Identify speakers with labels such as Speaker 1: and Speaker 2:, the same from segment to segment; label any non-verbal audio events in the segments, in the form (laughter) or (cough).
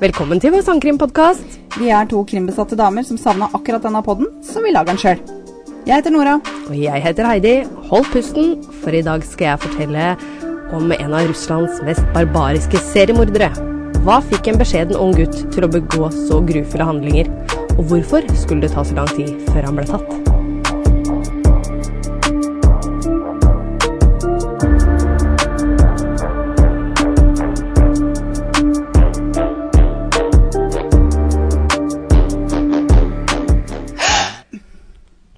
Speaker 1: Velkommen til vår sangkrimpodkast.
Speaker 2: Vi er to krimbesatte damer som savna akkurat denne podden, så vi lager den sjøl. Jeg heter Nora.
Speaker 1: Og jeg heter Heidi. Hold pusten, for i dag skal jeg fortelle om en av Russlands mest barbariske seriemordere. Hva fikk en beskjeden ung gutt til å begå så grufulle handlinger? Og hvorfor skulle det ta så lang tid før han ble tatt?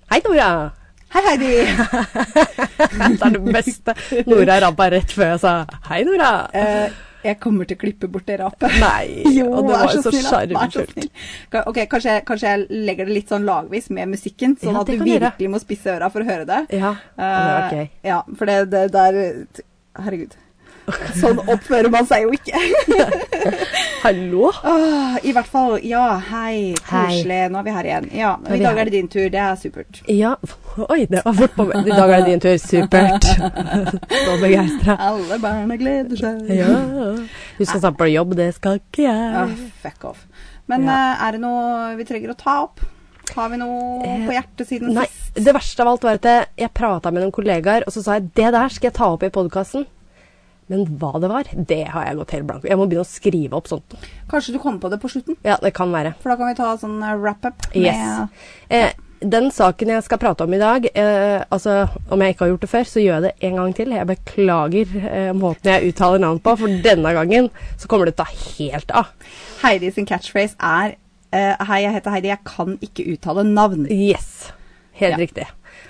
Speaker 1: Hei, Nora.
Speaker 2: Hei, Heidi.
Speaker 1: Det er det beste. Nora rabba rett før jeg sa hei, Nora.
Speaker 2: (laughs) Eh, jeg kommer til å klippe bort det rapet.
Speaker 1: Nei,
Speaker 2: (laughs) Jo,
Speaker 1: og det
Speaker 2: vær
Speaker 1: var jo så
Speaker 2: snill, da. Vær så
Speaker 1: sjarmfullt.
Speaker 2: snill. Ka- Ok, kanskje, kanskje jeg legger det litt sånn lagvis med musikken, sånn
Speaker 1: Ja,
Speaker 2: at
Speaker 1: det
Speaker 2: du
Speaker 1: kan du gjøre.
Speaker 2: virkelig må spisse øra for å høre det.
Speaker 1: Ja, det hadde vært
Speaker 2: Eh,
Speaker 1: gøy.
Speaker 2: Ja, for det, det der Herregud. Sånn oppfører man seg jo ikke.
Speaker 1: (laughs) Hallo?
Speaker 2: Åh, I hvert fall, ja, hei,
Speaker 1: Ah. Hei.
Speaker 2: koselig, nå er vi her igjen. Ja,
Speaker 1: er
Speaker 2: I
Speaker 1: vi
Speaker 2: dag
Speaker 1: her.
Speaker 2: er det din tur, det er supert.
Speaker 1: Ja, oi, det var fort på meg. I dag er det din tur. Supert. Så begeistra.
Speaker 2: Alle barna gleder seg.
Speaker 1: Ja. Du skal snakke på jobb, det skal ikke
Speaker 2: Ah,
Speaker 1: jeg.
Speaker 2: fuck off. Men
Speaker 1: Ja.
Speaker 2: eh, er det noe vi trenger å ta opp? Har vi noe
Speaker 1: Eh,
Speaker 2: på hjertet siden
Speaker 1: Nei,
Speaker 2: sist?
Speaker 1: det verste av alt var at jeg- jeg prata med noen kollegaer, og så sa jeg det der skal jeg ta opp i podkasten. Men hva det var, det har jeg gått helt blank i. Jeg må begynne å skrive opp sånt.
Speaker 2: Kanskje du kommer på det på slutten?
Speaker 1: Ja, det kan være.
Speaker 2: For da kan vi ta sånn eh, wrap-up. med-
Speaker 1: Yes. Eh, den saken jeg skal prate om i dag, eh, altså om jeg ikke har gjort det før, så gjør jeg det en gang til. Jeg beklager eh, måten jeg uttaler navn på, for denne gangen så kommer det til å ta helt av.
Speaker 2: Heidi sin catchphrase er eh, Hei, jeg heter Heidi, jeg kan ikke uttale navn.
Speaker 1: Yes. Helt
Speaker 2: Ja.
Speaker 1: riktig.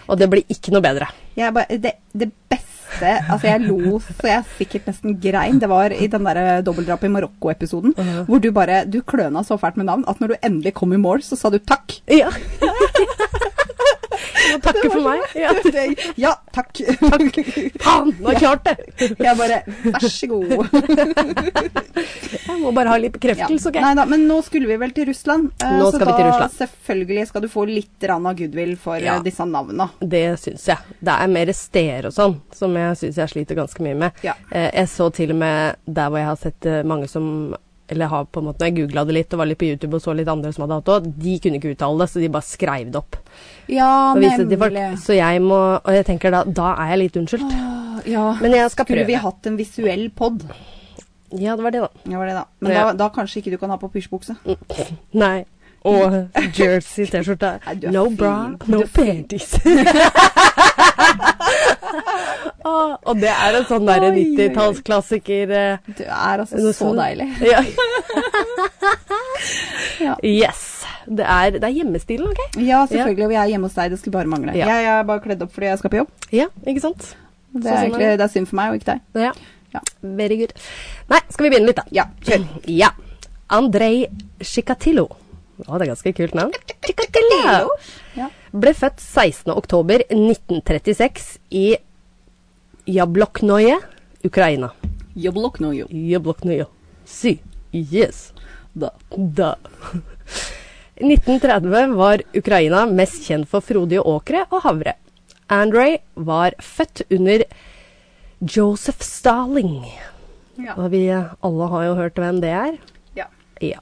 Speaker 1: Og det blir ikke noe bedre.
Speaker 2: Jeg bare, det, det beste Altså, jeg lo så jeg sikkert nesten grein. Det var i den der dobbeltdrapet i Marokko-episoden hvor du bare Du kløna så fælt med navn at når du endelig kom i mål, så sa du takk.
Speaker 1: (laughs) Ja. Jeg må takke for meg. Ja.
Speaker 2: (laughs) ja takk.
Speaker 1: Faen, nå har jeg klart det!
Speaker 2: Jeg bare Vær så god.
Speaker 1: Jeg må bare ha litt bekreftelse,
Speaker 2: Nei
Speaker 1: OK?
Speaker 2: da, men nå skulle vi vel til Russland. eh,
Speaker 1: Nå skal
Speaker 2: så
Speaker 1: vi til
Speaker 2: da
Speaker 1: Russland.
Speaker 2: selvfølgelig skal du få litt rann av goodwill for eh,
Speaker 1: Ja.
Speaker 2: disse navna.
Speaker 1: Det syns jeg. Det er mer steder og sånn som jeg syns jeg sliter ganske mye med.
Speaker 2: Ja.
Speaker 1: Eh, Jeg så til og med der hvor jeg har sett eh, mange som eller har på en måte, når jeg googla det litt og var litt på YouTube og så litt andre som hadde hatt det, de kunne ikke uttale det, så de bare skreiv det opp.
Speaker 2: Ja,
Speaker 1: Og viste det til folk. Så jeg må Og jeg tenker da, da er jeg litt unnskyldt.
Speaker 2: Ah, Ja.
Speaker 1: Men jeg skal
Speaker 2: Skulle vi
Speaker 1: prøve.
Speaker 2: hatt en visuell pod?
Speaker 1: Ja, det var det, da.
Speaker 2: Ja, var det da. Men
Speaker 1: Ja.
Speaker 2: da, da kanskje ikke du kan ha på pysjbukse.
Speaker 1: Nei. Og jersey, T-skjorte.
Speaker 2: (laughs) Nei, du er
Speaker 1: No
Speaker 2: fin.
Speaker 1: bra,
Speaker 2: Du
Speaker 1: no
Speaker 2: er fin.
Speaker 1: panties. (laughs) ah, og det er en sånn derre
Speaker 2: Oi, oi, oi.
Speaker 1: 90-tallsklassiker. eh,
Speaker 2: Du er altså
Speaker 1: noe
Speaker 2: så
Speaker 1: sånn.
Speaker 2: deilig.
Speaker 1: (laughs) Ja.
Speaker 2: Ja.
Speaker 1: Yes. Det er, det er hjemmestilen, OK?
Speaker 2: Ja, selvfølgelig. Og vi er hjemme hos deg. Det skulle bare mangle.
Speaker 1: Ja.
Speaker 2: Jeg er bare kledd opp fordi jeg skal på jobb.
Speaker 1: Ja, ikke sant?
Speaker 2: Det
Speaker 1: Så
Speaker 2: er,
Speaker 1: sånn er
Speaker 2: egentlig, det er synd for meg og ikke deg.
Speaker 1: Ja.
Speaker 2: Ja.
Speaker 1: Very good. Nei, skal vi begynne litt, da?
Speaker 2: Ja, kjør.
Speaker 1: Ja. Andrej Chikatilo. Å, det er ganske kult navn. Chikatilo.
Speaker 2: Ja.
Speaker 1: Ble født 16. oktober 1936 i Jabloknoje, Ukraina.
Speaker 2: Jobb lokk nå, jo.
Speaker 1: Jabloknoje. Si. Yes.
Speaker 2: Da.
Speaker 1: Da. (laughs) 1930 var Ukraina mest kjent for frodige åkre og havre. Andrej var født under Joseph Stalin.
Speaker 2: Ja.
Speaker 1: Og vi alle har jo hørt hvem det er.
Speaker 2: ja.
Speaker 1: Ja.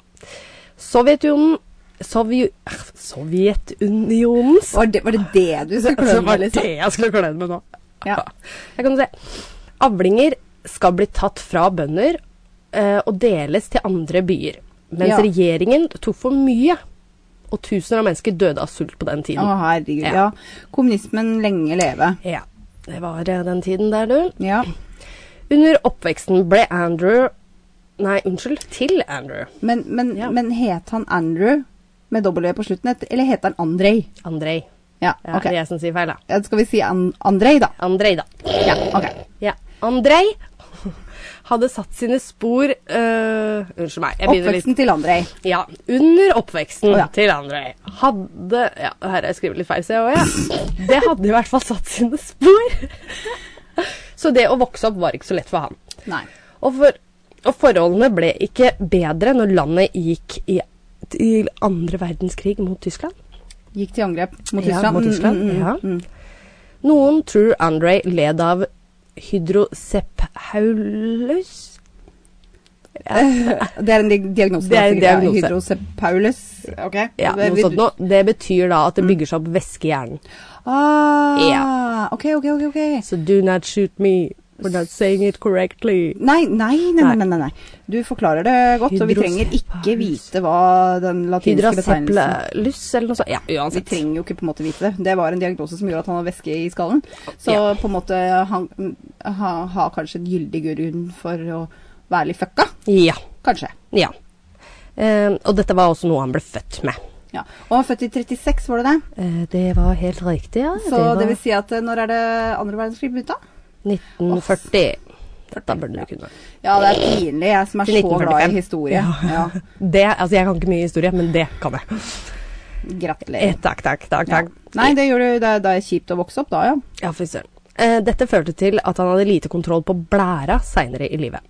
Speaker 1: Sovjetunionen Sovju, Sovjetunionens
Speaker 2: Var, det, var det det du skulle
Speaker 1: Altså,
Speaker 2: kløne
Speaker 1: var
Speaker 2: med,
Speaker 1: det
Speaker 2: liksom?
Speaker 1: jeg skulle kløne med nå?
Speaker 2: Ja.
Speaker 1: Jeg kan se. Avlinger skal bli tatt fra bønder eh, og deles til andre byer. Mens
Speaker 2: Ja.
Speaker 1: regjeringen tok for mye, og tusener av mennesker døde av sult på den
Speaker 2: Å,
Speaker 1: tiden.
Speaker 2: herregud.
Speaker 1: Ja.
Speaker 2: Ja. Kommunismen lenge leve.
Speaker 1: Ja, det var eh, den tiden der, du.
Speaker 2: Ja.
Speaker 1: Under oppveksten ble Andrew Nei, unnskyld, til Andrew.
Speaker 2: Men, men,
Speaker 1: Ja.
Speaker 2: men het han Andrew med W på slutten, et- eller heter han Andrej?
Speaker 1: Andrej.
Speaker 2: Ja,
Speaker 1: Ja,
Speaker 2: ok.
Speaker 1: Det er jeg som sier feil, da.
Speaker 2: Ja, Skal vi si an Andrej, da?
Speaker 1: Andrej, da.
Speaker 2: Ja, ok.
Speaker 1: Ja. Andrej (laughs) hadde satt sine spor eh, Unnskyld meg, jeg begynner litt
Speaker 2: Oppveksten til Andrej.
Speaker 1: Ja, under oppveksten
Speaker 2: Å, ja.
Speaker 1: til Andrej hadde Ja, her har jeg skrevet litt feil, ser jeg også, ja. Det hadde i hvert fall satt sine spor. Så det å vokse opp var ikke så lett for han.
Speaker 2: Nei.
Speaker 1: Og, for, og forholdene ble ikke bedre når landet gikk i, til andre verdenskrig mot Tyskland.
Speaker 2: Gikk til angrep mot
Speaker 1: Ja,
Speaker 2: Tyskland.
Speaker 1: mot Tyskland,
Speaker 2: Mm, mm, mm,
Speaker 1: ja.
Speaker 2: mm.
Speaker 1: Noen tror Andrej led av hydrocephalus
Speaker 2: Det er en di- diagnose.
Speaker 1: Det er en
Speaker 2: da, sikkert, ja.
Speaker 1: diagnose.
Speaker 2: Hydrocephalus. Ok.
Speaker 1: Ja,
Speaker 2: Det- Mm.
Speaker 1: noe sånt noe. Det betyr da at det bygger seg opp væske i hjernen.
Speaker 2: Ah,
Speaker 1: Ja.
Speaker 2: OK, OK, OK. ok.
Speaker 1: So do not shoot me for not saying it correctly.
Speaker 2: Nei, nei, nei,
Speaker 1: Nei.
Speaker 2: nei, nei, nei. Du forklarer det godt, og vi trenger ikke vite hva den latinske betegnelsen
Speaker 1: Hydraseplelus eller noe sånt. Ja,
Speaker 2: Vi
Speaker 1: uansett.
Speaker 2: trenger jo ikke på en måte vite det. Det var en diagnose som gjorde at han har væske i skallen. Så
Speaker 1: Ja.
Speaker 2: på en måte han ha- har kanskje en gyldig grunn for å være litt fucka.
Speaker 1: Ja.
Speaker 2: Kanskje.
Speaker 1: ja. Eh, og dette var også noe han ble født med.
Speaker 2: Ja. Og han er født i 36, var det det?
Speaker 1: Eh, det var helt riktig, ja.
Speaker 2: Så
Speaker 1: var
Speaker 2: det, vil si at eh, når er det andre verdenskrig begynte?
Speaker 1: 1940. Dette burde du kunne.
Speaker 2: Ja, det er pinlig, jeg som er
Speaker 1: Til
Speaker 2: så glad
Speaker 1: 1945.
Speaker 2: i historie. Ja.
Speaker 1: Det, altså Jeg kan ikke mye historie, men det kan jeg. Eh,
Speaker 2: Gratulerer.
Speaker 1: takk, takk, takk.
Speaker 2: Ja.
Speaker 1: takk.
Speaker 2: Nei, det gjør du, det, er- det er kjipt å vokse opp da, ja.
Speaker 1: Ja, fy søren. Eh, dette førte til at han hadde lite kontroll på blæra seinere i livet.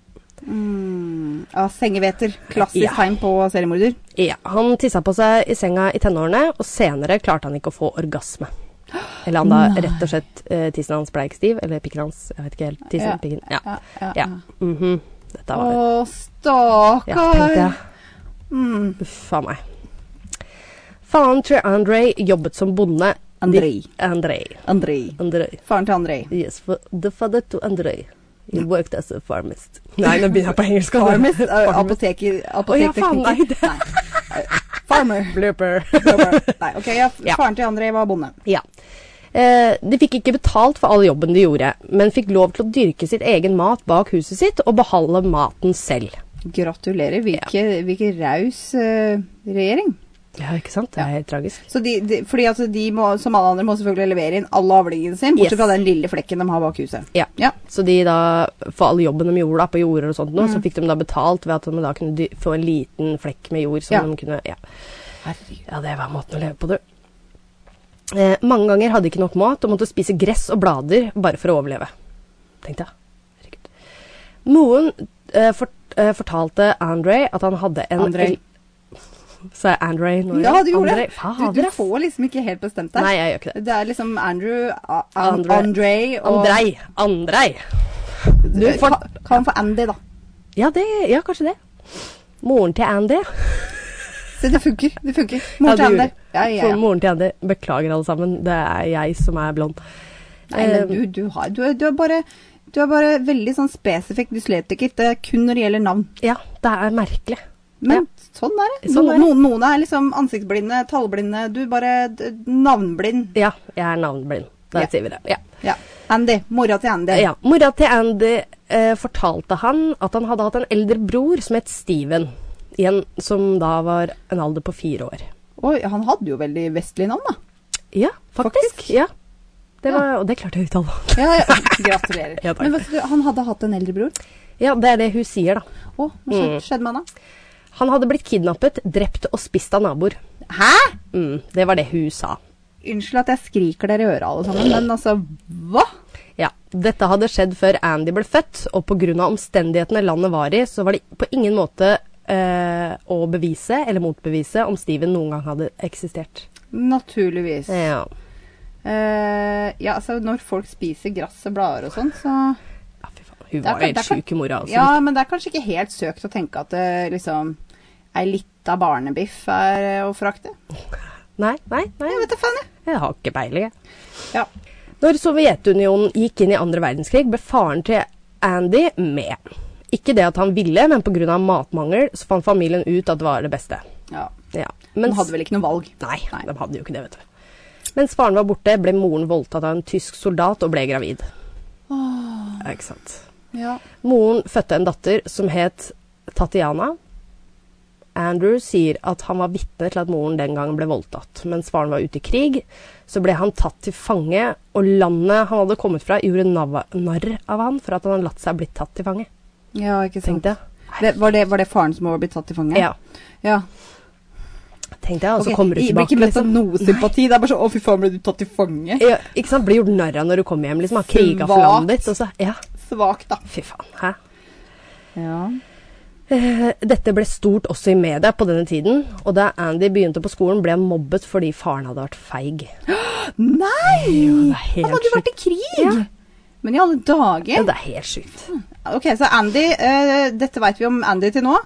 Speaker 2: Mm, ja sengeveter. Klassisk
Speaker 1: Ja.
Speaker 2: tegn på seriemorder.
Speaker 1: Ja, Han tissa på seg i senga i tenårene, og senere klarte han ikke å få orgasme. Eller han da rett og slett eh, tissen hans bleik stiv, eller pikken hans, jeg vet ikke helt. Tissen,
Speaker 2: Ja,
Speaker 1: pikken,
Speaker 2: ja,
Speaker 1: ja.
Speaker 2: ja,
Speaker 1: ja.
Speaker 2: ja.
Speaker 1: mhm. Dette var
Speaker 2: Å,
Speaker 1: Ja, tenkte jeg.
Speaker 2: stakkar. Mm.
Speaker 1: Uffa meg. Faren til Andrej jobbet som bonde
Speaker 2: Andrej.
Speaker 1: De- Andrej.
Speaker 2: Andrej.
Speaker 1: Andrej.
Speaker 2: Faren til Andrej.
Speaker 1: Yes, for the father to Andrej. He worked as a pharmacist. Nei, nå begynner jeg på engelsk. altså.
Speaker 2: (laughs) Farmers, eh, apoteker,
Speaker 1: faen, nei,
Speaker 2: apotekteknikker.
Speaker 1: det-
Speaker 2: Nei. (laughs) Farmer.
Speaker 1: Blooper.
Speaker 2: Nei, ok, ja,
Speaker 1: Ja.
Speaker 2: Faren til Andrej var bonde.
Speaker 1: Ja. Eh, de fikk ikke betalt for all jobben de gjorde, men fikk lov til å dyrke sitt egen mat bak huset sitt og beholde maten selv.
Speaker 2: Gratulerer. Hvilke, hvilke raus eh, regjering.
Speaker 1: Ja, ikke sant? Det er helt tragisk.
Speaker 2: Så de, de, fordi at de må, som alle andre, må selvfølgelig levere inn all avlingen sin, bortsett
Speaker 1: Yes.
Speaker 2: fra den lille flekken de har bak huset.
Speaker 1: Ja.
Speaker 2: Ja.
Speaker 1: Så de da, for all jobben de gjorde da, på jorder og sånt, nå, så fikk de da betalt ved at de da kunne dy- få en liten flekk med jord som
Speaker 2: Ja.
Speaker 1: de kunne ja.
Speaker 2: Herregud.
Speaker 1: ja, det var måten å leve på, du. Eh, mange ganger hadde de ikke nok mat og måtte spise gress og blader bare for å overleve. Tenkte jeg. Herregud. Moren eh, fort, eh, fortalte Andrej at han hadde en
Speaker 2: Andrej.
Speaker 1: (laughs) Sa jeg Andrej nå?
Speaker 2: Ja, du gjorde det.
Speaker 1: Andrej.
Speaker 2: Du,
Speaker 1: Fader,
Speaker 2: du
Speaker 1: ass.
Speaker 2: får liksom ikke helt bestemt deg.
Speaker 1: Nei, jeg gjør ikke det.
Speaker 2: Det er liksom Andrew, A- An-
Speaker 1: Andre-
Speaker 2: Andrej og
Speaker 1: Andrej. Andrej. Du
Speaker 2: Eh,
Speaker 1: får
Speaker 2: Ka- Kan han få Andy, da?
Speaker 1: Ja, det, ja, kanskje det. Moren til Andy.
Speaker 2: Se, det funker. Det funker.
Speaker 1: Ja,
Speaker 2: Mor
Speaker 1: det
Speaker 2: til
Speaker 1: gjorde
Speaker 2: Andy.
Speaker 1: det.
Speaker 2: Ja, ja,
Speaker 1: For
Speaker 2: ja.
Speaker 1: Moren til Andy. Beklager, alle sammen. Det er jeg som er blond. Eh,
Speaker 2: Nei, men du, du, har, du, er- du, er bare, du er bare veldig sånn spesifikk dyslektiker. Det er kun når det gjelder navn.
Speaker 1: Ja, det er merkelig.
Speaker 2: Men sånn er det.
Speaker 1: Sånn er det.
Speaker 2: noen, noen, noen er liksom ansiktsblinde, tallblinde. Du bare d- navnblind.
Speaker 1: Ja, jeg er navnblind. Da
Speaker 2: Ja.
Speaker 1: sier vi det. Ja.
Speaker 2: Ja. Andy. Mora til Andy.
Speaker 1: ja. Mora til Andy eh, fortalte han at han hadde hatt en eldre bror som het Steven, igjen, som da var en alder på fire år.
Speaker 2: Oi, han hadde jo veldig vestlig navn, da.
Speaker 1: Ja, faktisk.
Speaker 2: Faktisk?
Speaker 1: Ja. Det var, Og det klarte jeg å uttale.
Speaker 2: Ja, ja. (laughs) Gratulerer.
Speaker 1: Ja, takk.
Speaker 2: Men vet du, han hadde hatt en eldre bror.
Speaker 1: (laughs) Ja, det er det hun sier, da.
Speaker 2: Å, hva
Speaker 1: Mm.
Speaker 2: skjedde, skjedde med han da?
Speaker 1: Han hadde blitt kidnappet, drept og spist av naboer.
Speaker 2: Hæ?
Speaker 1: Mm, det var det hun sa.
Speaker 2: Unnskyld at jeg skriker dere i øret alle sammen, men altså, hva?
Speaker 1: Ja, Dette hadde skjedd før Andy ble født, og pga. omstendighetene landet var i, så var det på ingen måte eh, å bevise eller motbevise om Steven noen gang hadde eksistert.
Speaker 2: Naturligvis.
Speaker 1: Ja.
Speaker 2: Eh, ja, altså når folk spiser gress og blader og sånn, så
Speaker 1: Ja, fy faen. Hun
Speaker 2: Det er
Speaker 1: var
Speaker 2: kan-
Speaker 1: jo helt
Speaker 2: det er kan-
Speaker 1: sjuk i mora. Altså.
Speaker 2: Ja, men det er kanskje ikke helt søkt å tenke at eh, liksom ei lita barnebiff er eh, å frakte.
Speaker 1: Nei, nei, nei.
Speaker 2: Jeg vet da faen, jeg.
Speaker 1: Jeg har ikke peiling, jeg.
Speaker 2: Ja.
Speaker 1: Når Sovjetunionen gikk inn i andre verdenskrig, ble faren til Andy med. Ikke det at han ville, men pga. matmangel så fant familien ut at det var det beste.
Speaker 2: ja.
Speaker 1: Ja.
Speaker 2: Men
Speaker 1: Mens,
Speaker 2: hadde vel ikke noe valg.
Speaker 1: Nei,
Speaker 2: Nei.
Speaker 1: de hadde jo ikke det, vet du. Mens faren var borte, ble moren voldtatt av en tysk soldat og ble gravid. Ja, ikke sant.
Speaker 2: Ja.
Speaker 1: Moren fødte en datter som het Tatiana. Andrew sier at han var vitne til at moren den gangen ble voldtatt. Mens faren var ute i krig, så ble han tatt til fange, og landet han hadde kommet fra, gjorde nav- narr av han for at han hadde latt seg bli tatt til fange.
Speaker 2: ja, ikke sant.
Speaker 1: Tenkte jeg.
Speaker 2: Det, var, det, var det faren som var blitt tatt til fange?
Speaker 1: Ja,
Speaker 2: ja.
Speaker 1: tenkte jeg, og så
Speaker 2: Ok,
Speaker 1: kommer du
Speaker 2: jeg Blir
Speaker 1: tilbake.
Speaker 2: ikke møtt av
Speaker 1: Liksom.
Speaker 2: noe sympati. Det er bare sånn 'Å, fy faen, ble du tatt til fange?'
Speaker 1: Ja, ikke sant? Blir gjort narr av når du kommer hjem. liksom, Har kriga for
Speaker 2: Svakt.
Speaker 1: landet ditt. og så- Ja,
Speaker 2: Svakt, da.
Speaker 1: fy faen. Hæ?
Speaker 2: Ja.
Speaker 1: Eh, Dette ble stort også i media på denne tiden, og da Andy begynte på skolen, ble han mobbet fordi faren hadde vært feig.
Speaker 2: Nei!
Speaker 1: det er helt
Speaker 2: Han hadde jo vært i krig! Men i alle
Speaker 1: Ja,
Speaker 2: dager
Speaker 1: det er helt sjukt.
Speaker 2: Mm. Ok, så Andy, eh, dette vet vi om Andy til nå,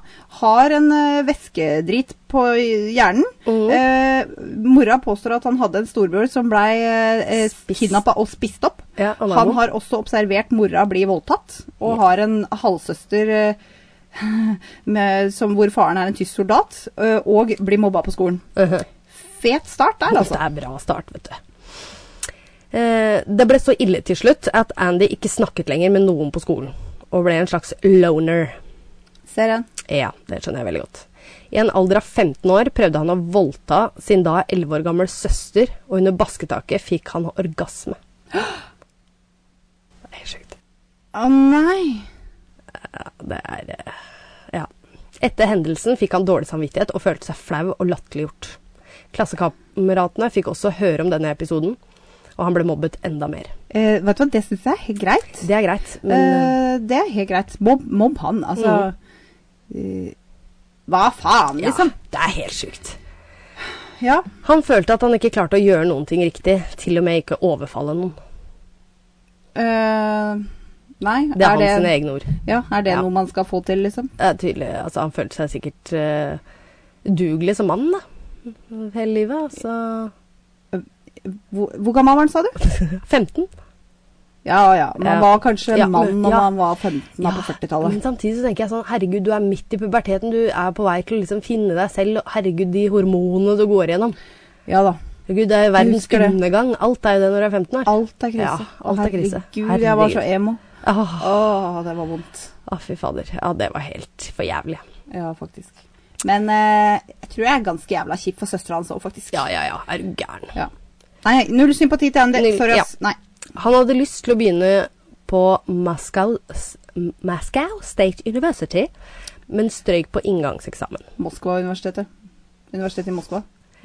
Speaker 2: har en eh, væskedrit på hjernen.
Speaker 1: Mhm.
Speaker 2: Eh, mora påstår at han hadde en storbror som blei eh,
Speaker 1: Spist.
Speaker 2: kidnappa og spist opp.
Speaker 1: Ja, og
Speaker 2: han
Speaker 1: nabo.
Speaker 2: har også observert mora bli voldtatt, og har en halvsøster eh, (laughs) med, som, hvor faren er en tysk soldat, eh, og blir mobba på skolen.
Speaker 1: Mhm.
Speaker 2: Fet start der, altså.
Speaker 1: Dette er bra start, vet du. Eh, det ble så ille til slutt at Andy ikke snakket lenger med noen på skolen, og ble en slags loner.
Speaker 2: Ser en.
Speaker 1: Ja, det skjønner jeg veldig godt. I en alder av 15 år prøvde han å voldta sin da 11 år gamle søster, og under basketaket fikk han orgasme. Det er helt sjukt.
Speaker 2: Å nei.
Speaker 1: Det er eh, Ja. Etter hendelsen fikk han dårlig samvittighet og følte seg flau og latterliggjort. Klassekameratene fikk også høre om denne episoden, og han ble mobbet enda mer.
Speaker 2: Eh, vet du hva, det syns jeg er helt greit.
Speaker 1: Det er greit, men
Speaker 2: Eh, det er helt greit. Mobb, mobb han, altså. Eh, hva faen,
Speaker 1: eh, Mm. ja,
Speaker 2: liksom?
Speaker 1: det er helt sjukt.
Speaker 2: Ja.
Speaker 1: Han følte at han ikke klarte å gjøre noen ting riktig, til og med ikke overfalle noen.
Speaker 2: eh, nei,
Speaker 1: Det er, hans sine egne ord.
Speaker 2: ja, er det
Speaker 1: Ja.
Speaker 2: noe man skal få til, liksom?
Speaker 1: Det er tydelig, altså Han følte seg sikkert eh, udugelig som mann da, hele livet.
Speaker 2: (laughs)
Speaker 1: Altså
Speaker 2: Hvor, hvor gammel var han, sa du?
Speaker 1: 15.
Speaker 2: Ja ja, man
Speaker 1: Ja.
Speaker 2: var kanskje
Speaker 1: Ja,
Speaker 2: mann
Speaker 1: men-
Speaker 2: når
Speaker 1: ja.
Speaker 2: man var 15 da på 40-tallet.
Speaker 1: Men samtidig så tenker jeg sånn Herregud, du er midt i puberteten. Du er på vei til å liksom finne deg selv. og Herregud, de hormonene du går igjennom.
Speaker 2: Ja da.
Speaker 1: Herregud, det er jo verdens
Speaker 2: Husker det.
Speaker 1: undergang. Alt er jo det når du er 15 år.
Speaker 2: Alt er krise.
Speaker 1: Ja, alt er krise.
Speaker 2: Herregud, jeg var så
Speaker 1: Herregud.
Speaker 2: emo.
Speaker 1: Åh,
Speaker 2: Å, det var vondt.
Speaker 1: å, Ah, fy fader. Ja, det var helt for jævlig.
Speaker 2: Ja, faktisk. Men eh, jeg tror jeg er ganske jævla kjip for søstera hans òg, faktisk.
Speaker 1: Ja, ja, ja. Er du gæren.
Speaker 2: Ja. Nei, null sympati til Andy.
Speaker 1: Null,
Speaker 2: Sorry,
Speaker 1: ja.
Speaker 2: ass. Nei.
Speaker 1: Han hadde lyst til å begynne på Moscow, s- Moscow State University, men strøyk på inngangseksamen.
Speaker 2: Moskva-universitetet. Universitetet i Moskva.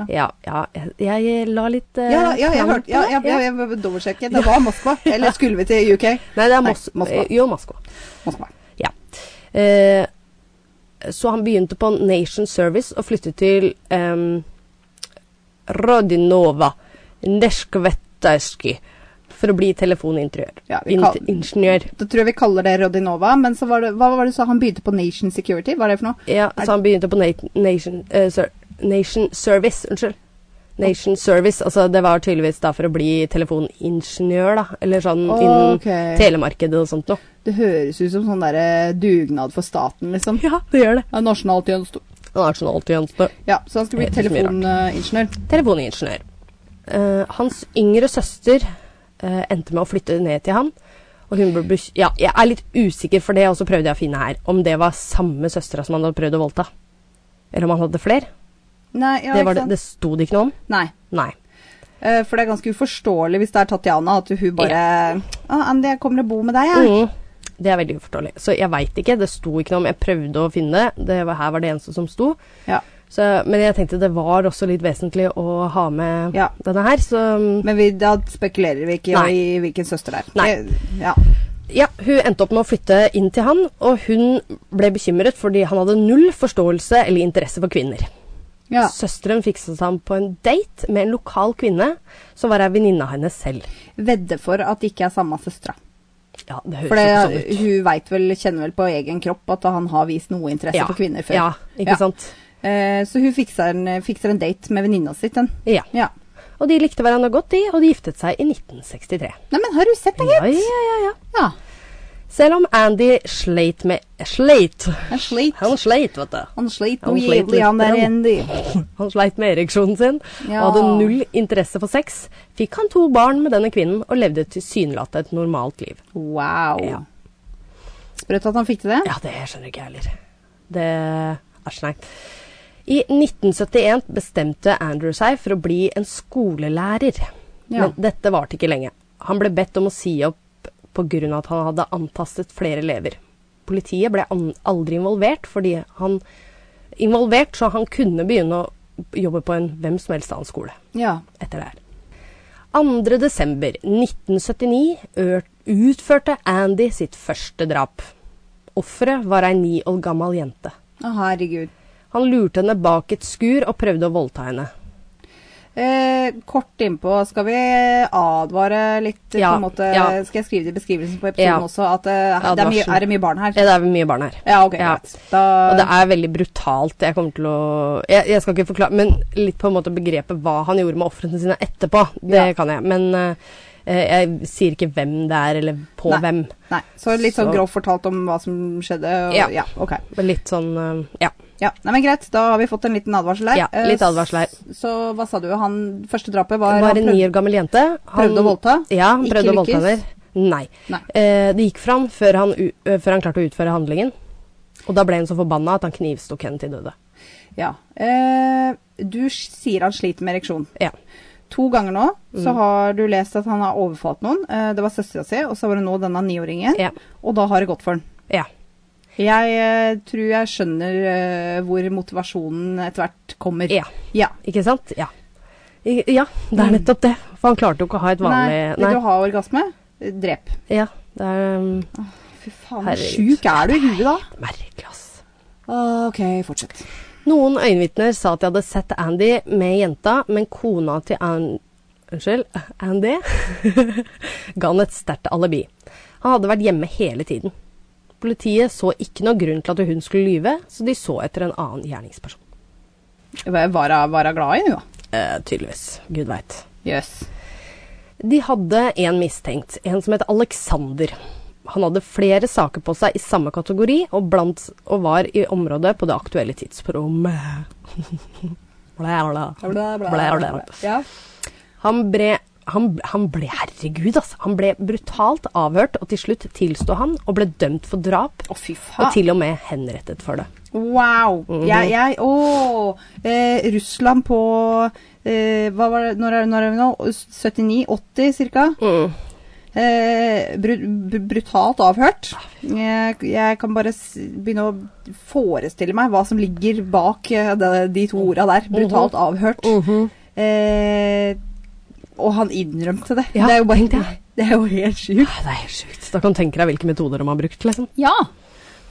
Speaker 1: Ja, ja. Jeg, jeg la litt eh,
Speaker 2: Ja, ja, jeg
Speaker 1: fram
Speaker 2: hørte
Speaker 1: på
Speaker 2: ja,
Speaker 1: det.
Speaker 2: jeg, jeg, jeg, jeg dobbeltsjekket. Det var Moskva. Eller skulle vi til UK?
Speaker 1: Nei, det er
Speaker 2: Nei,
Speaker 1: Mos
Speaker 2: Moskva.
Speaker 1: eh, Jo, Moskva.
Speaker 2: Moskva.
Speaker 1: Ja. Eh, så han begynte på Nation Service og flyttet til um, Rodinova Neskvetajski for å bli telefoningeniør.
Speaker 2: Ja, vi kan-
Speaker 1: Int- ingeniør.
Speaker 2: Da tror jeg vi kaller det Rodinova. Men så var det, hva var det du sa han begynte på Nation Security? Hva er det for noe?
Speaker 1: Ja, så han begynte på Nat- Nation, eh, Ser- Nation Service. Unnskyld. Nation Service, altså Det var tydeligvis da for å bli telefoningeniør, da. Eller sånn innen
Speaker 2: Ok.
Speaker 1: telemarkedet og sånt noe.
Speaker 2: Det høres ut som sånn der eh, dugnad for staten, liksom.
Speaker 1: Ja, det gjør det.
Speaker 2: (laughs) Ja, Nasjonaltjeneste.
Speaker 1: Han er sånn alltidjente.
Speaker 2: Ja, så han skulle bli
Speaker 1: Det er så mye rart.
Speaker 2: telefoningeniør.
Speaker 1: Telefoningeniør. Eh, hans yngre søster eh, endte med å flytte ned til han. Og hun ble bes- ja, jeg er litt usikker, for det og så prøvde jeg å finne her om det var samme søstera som han hadde prøvd å voldta. Eller om han hadde flere.
Speaker 2: Nei, ja,
Speaker 1: det,
Speaker 2: ikke
Speaker 1: var det,
Speaker 2: sant?
Speaker 1: det sto det ikke noe om.
Speaker 2: Nei.
Speaker 1: Nei.
Speaker 2: Eh, For det er ganske uforståelig hvis det er Tatjana at hun bare Å, Andy, jeg kommer og bor med deg, jeg.
Speaker 1: Mm. Det er veldig uforståelig. Så jeg veit ikke. Det sto ikke noe om. Jeg prøvde å finne det. det var, her var det eneste som sto.
Speaker 2: Ja.
Speaker 1: Så, men jeg tenkte det var også litt vesentlig å ha med
Speaker 2: Ja.
Speaker 1: denne her, så mm.
Speaker 2: Men vi, da spekulerer vi ikke
Speaker 1: Nei.
Speaker 2: i hvilken søster det er.
Speaker 1: Nei.
Speaker 2: Det, ja.
Speaker 1: Ja, hun endte opp med å flytte inn til han, og hun ble bekymret fordi han hadde null forståelse eller interesse for kvinner.
Speaker 2: Ja.
Speaker 1: Søsteren fikset ham på en date med en lokal kvinne som var ei venninne av henne selv.
Speaker 2: Vedde for at det ikke er samme søstera.
Speaker 1: Ja, det høres
Speaker 2: For det,
Speaker 1: jo ikke sånn ut.
Speaker 2: hun vet vel, kjenner vel på egen kropp at han har vist noe interesse
Speaker 1: Ja,
Speaker 2: for kvinner før.
Speaker 1: Ja, ikke
Speaker 2: Ja.
Speaker 1: sant.
Speaker 2: Eh, så hun fikser en, fikser en date med venninna si. den.
Speaker 1: Ja.
Speaker 2: Ja.
Speaker 1: Og de likte hverandre godt, de, og de giftet seg i 1963.
Speaker 2: Nei, men har du sett det,
Speaker 1: Ja,
Speaker 2: gitt?
Speaker 1: ja, ja, ja.
Speaker 2: Ja.
Speaker 1: Selv om Andy sleit med Sleit.
Speaker 2: Han sleit.
Speaker 1: Han sleit, vet du.
Speaker 2: Han sleit
Speaker 1: Han
Speaker 2: noe
Speaker 1: sleit
Speaker 2: jævlig, han
Speaker 1: litt,
Speaker 2: der
Speaker 1: han.
Speaker 2: Andy.
Speaker 1: (laughs) Han sleit med ereksjonen sin
Speaker 2: Ja.
Speaker 1: og hadde null interesse for sex. Fikk han to barn med denne kvinnen og levde tilsynelatende et normalt liv.
Speaker 2: Wow.
Speaker 1: Ja.
Speaker 2: Sprøtt at han fikk til det.
Speaker 1: Ja, det skjønner ikke jeg heller. Det Æsj, nei. I 1971 bestemte Andrew seg for å bli en skolelærer.
Speaker 2: Ja.
Speaker 1: Men dette varte ikke lenge. Han ble bedt om å si opp pga. at han hadde antastet flere elever. Politiet ble an aldri involvert, fordi han involvert, så han kunne begynne å jobbe på en hvem som helst annen skole
Speaker 2: Ja.
Speaker 1: etter det her. 2. desember 1979 ør- utførte Andy sitt første drap. Offeret var ei ni år gammel jente.
Speaker 2: Å, herregud.
Speaker 1: Han lurte henne bak et skur og prøvde å voldta henne.
Speaker 2: Eh, kort innpå, skal vi advare litt?
Speaker 1: Ja,
Speaker 2: på en måte,
Speaker 1: ja.
Speaker 2: Skal jeg skrive det i beskrivelsen på
Speaker 1: Ja.
Speaker 2: episoden også? At eh, det er, mye,
Speaker 1: Advarsel.
Speaker 2: er det mye barn her?
Speaker 1: Ja, det er mye barn her.
Speaker 2: Ja, ok,
Speaker 1: Ja.
Speaker 2: greit. Da,
Speaker 1: Og det er veldig brutalt. Jeg kommer til å Jeg, jeg skal ikke forklare, men litt på en måte begrepet hva han gjorde med ofrene sine etterpå, det
Speaker 2: Ja.
Speaker 1: kan jeg. Men eh, jeg sier ikke hvem det er, eller på
Speaker 2: Nei.
Speaker 1: hvem.
Speaker 2: Nei, så litt sånn
Speaker 1: Så-
Speaker 2: grovt fortalt om hva som skjedde? Og,
Speaker 1: Ja.
Speaker 2: ja. ok.
Speaker 1: Men litt sånn eh, Ja.
Speaker 2: Ja, nei, men Greit, da har vi fått en liten advarsel her.
Speaker 1: Ja, litt
Speaker 2: Eh,
Speaker 1: advarsel her.
Speaker 2: s- Så hva sa du? Han første drapet var,
Speaker 1: Det
Speaker 2: han
Speaker 1: var en
Speaker 2: prøv-
Speaker 1: ni år gammel jente.
Speaker 2: prøvde å voldta?
Speaker 1: Ja, han
Speaker 2: Ikke
Speaker 1: prøvde å voldta
Speaker 2: lykkes?
Speaker 1: henne. Nei.
Speaker 2: Nei.
Speaker 1: Eh, det gikk fra han før han, u eh, før han klarte å utføre handlingen. Og da ble hun så forbanna at han knivstok henne til døde.
Speaker 2: Ja. Eh, du s- sier han sliter med ereksjon.
Speaker 1: Ja. Mm.
Speaker 2: To ganger nå så har du lest at han har overfalt noen. Eh, det var søstera si, og så var det nå denne niåringen.
Speaker 1: Ja.
Speaker 2: Og da har det gått for han.
Speaker 1: ja.
Speaker 2: Jeg eh, tror jeg skjønner eh, hvor motivasjonen etter hvert kommer.
Speaker 1: Ja.
Speaker 2: ja.
Speaker 1: Ikke sant? Ja. I- Ja, det er nettopp det. For han klarte jo ikke å ha et vanlig
Speaker 2: Mm. Nei, vil du ha orgasme? Eh, Drep.
Speaker 1: Ja, det er um,
Speaker 2: Fy faen, hvor
Speaker 1: Herregud.
Speaker 2: sjuk er du i huet da?
Speaker 1: merkelig, ass.
Speaker 2: OK, fortsett.
Speaker 1: Noen øyenvitner sa at de hadde sett Andy med jenta, men kona til An Unnskyld, Andy (laughs) ga han et sterkt alibi. Han hadde vært hjemme hele tiden. Politiet så ikke noe grunn til at hun skulle lyve, så de så etter en annen gjerningsperson.
Speaker 2: Var hun glad i henne, da?
Speaker 1: Eh, tydeligvis. Gud veit.
Speaker 2: Jøss.
Speaker 1: De hadde en mistenkt, en som het Alexander. Han hadde flere saker på seg i samme kategori, og, blant, og var i området på det aktuelle tidsrommet. (laughs) Blæ, blæ. Blæ, blæ.
Speaker 2: Ja.
Speaker 1: Han ble, han, han ble Herregud, altså. Han ble brutalt avhørt, og til slutt tilsto han og ble dømt for drap.
Speaker 2: Å, fy
Speaker 1: Og
Speaker 2: faen.
Speaker 1: til og med henrettet for det.
Speaker 2: Wow.
Speaker 1: Mhm.
Speaker 2: Jeg, jeg Å! Eh, Russland på eh, Hva var det Når er, når er vi nå? 79-80 ca.?
Speaker 1: Mhm.
Speaker 2: Eh, bru, br- brutalt avhørt. Jeg, jeg kan bare s begynne å forestille meg hva som ligger bak eh, de, de to orda der.
Speaker 1: Mhm.
Speaker 2: Brutalt avhørt. eh, og han innrømte det.
Speaker 1: Ja,
Speaker 2: det, er jo
Speaker 1: tenk
Speaker 2: bare,
Speaker 1: det.
Speaker 2: (laughs) det er jo helt sjukt.
Speaker 1: Ah, Det er helt sjukt. Da kan du tenke deg hvilke metoder de har brukt, liksom.
Speaker 2: Ja.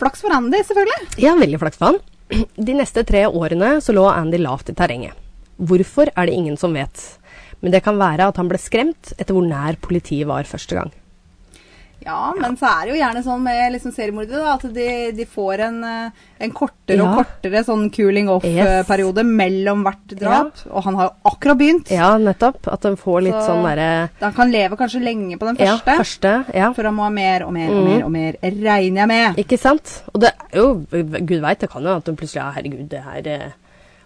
Speaker 2: Flaks for Andy, selvfølgelig.
Speaker 1: Ja, veldig flaks for han. (clears throat) De neste tre årene så lå Andy lavt i terrenget. Hvorfor er det ingen som vet. Men det kan være at han ble skremt etter hvor nær politiet var første gang.
Speaker 2: Ja, men så er det jo gjerne sånn med liksom seriemordere da, at de, de får en, eh, en kortere og
Speaker 1: Ja.
Speaker 2: kortere sånn cooling
Speaker 1: Yes.
Speaker 2: off-periode mellom hvert drap. Og han har jo akkurat begynt.
Speaker 1: Ja, nettopp. At de får litt
Speaker 2: Så-
Speaker 1: sånn derre
Speaker 2: Han kan leve kanskje lenge på den
Speaker 1: Ja,
Speaker 2: første,
Speaker 1: første. Ja.
Speaker 2: for han må ha mer og mer og mer, og mer, regner jeg med.
Speaker 1: Ikke sant? Og det er jo Gud veit, det kan jo at hun plutselig ja, Herregud, det her eh,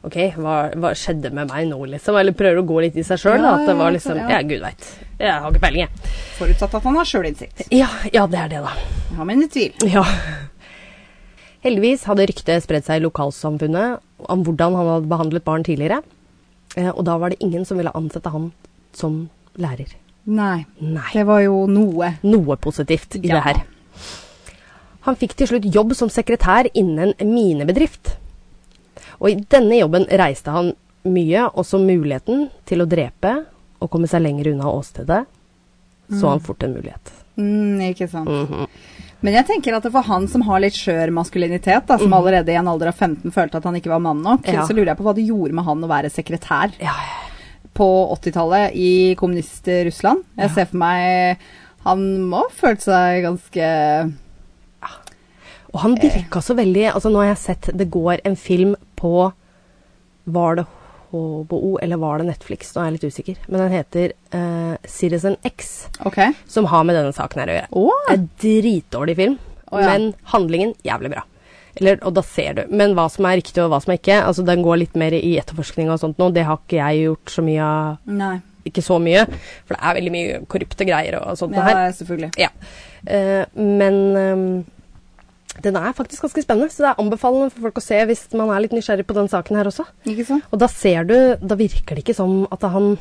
Speaker 1: OK, hva, hva skjedde med meg nå, liksom? Eller prøver å gå litt i seg sjøl, da.
Speaker 2: Ja,
Speaker 1: At det
Speaker 2: ja,
Speaker 1: var liksom
Speaker 2: ja.
Speaker 1: Ja, gud veit. Jeg har ikke peiling, jeg.
Speaker 2: Forutsatt at han har sjølinnsikt.
Speaker 1: Ja, ja, det er det, da. (laughs)
Speaker 2: Jeg har mine tvil.
Speaker 1: Ja. Heldigvis hadde ryktet spredt seg i lokalsamfunnet om hvordan han hadde behandlet barn tidligere. Eh, Og da var det ingen som ville ansette han som lærer.
Speaker 2: Nei.
Speaker 1: Nei.
Speaker 2: Det var jo noe.
Speaker 1: Noe positivt i
Speaker 2: Ja.
Speaker 1: det her. Han fikk til slutt jobb som sekretær innen en minebedrift. Og i denne jobben reiste han mye, også muligheten til å drepe og komme seg lenger unna åstedet. Så han fort en mulighet.
Speaker 2: Mm, ikke sant.
Speaker 1: Mhm.
Speaker 2: Men jeg tenker at det for han som har litt skjør maskulinitet, da, som allerede i en alder av 15 følte at han ikke var mann nok,
Speaker 1: Mhm. Ja.
Speaker 2: så lurer jeg på hva det gjorde med han å være sekretær
Speaker 1: Ja,
Speaker 2: på 80-tallet i kommunist-Russland. Jeg ser for meg han må ha følt seg ganske
Speaker 1: Og han virka så veldig altså Nå har jeg sett det går en film på Var det HBO eller var det Netflix? Nå er jeg litt usikker. Men den heter eh, Citizen X,
Speaker 2: OK.
Speaker 1: som har med denne saken her å gjøre.
Speaker 2: Å!
Speaker 1: En dritdårlig film,
Speaker 2: Å, ja.
Speaker 1: men handlingen jævlig bra. Eller, og da ser du. Men hva som er riktig og hva som er ikke, altså den går litt mer i etterforskning og sånt nå. Det har ikke jeg gjort så mye av.
Speaker 2: Nei.
Speaker 1: Ikke så mye, for det er veldig mye korrupte greier og sånt her.
Speaker 2: Ja, selvfølgelig.
Speaker 1: Ja. Eh, men ehm, den er faktisk ganske spennende, så det er anbefalende for folk å se hvis man er litt nysgjerrig på den saken her også.
Speaker 2: Ikke sant?
Speaker 1: Og da ser du Da virker det ikke som at han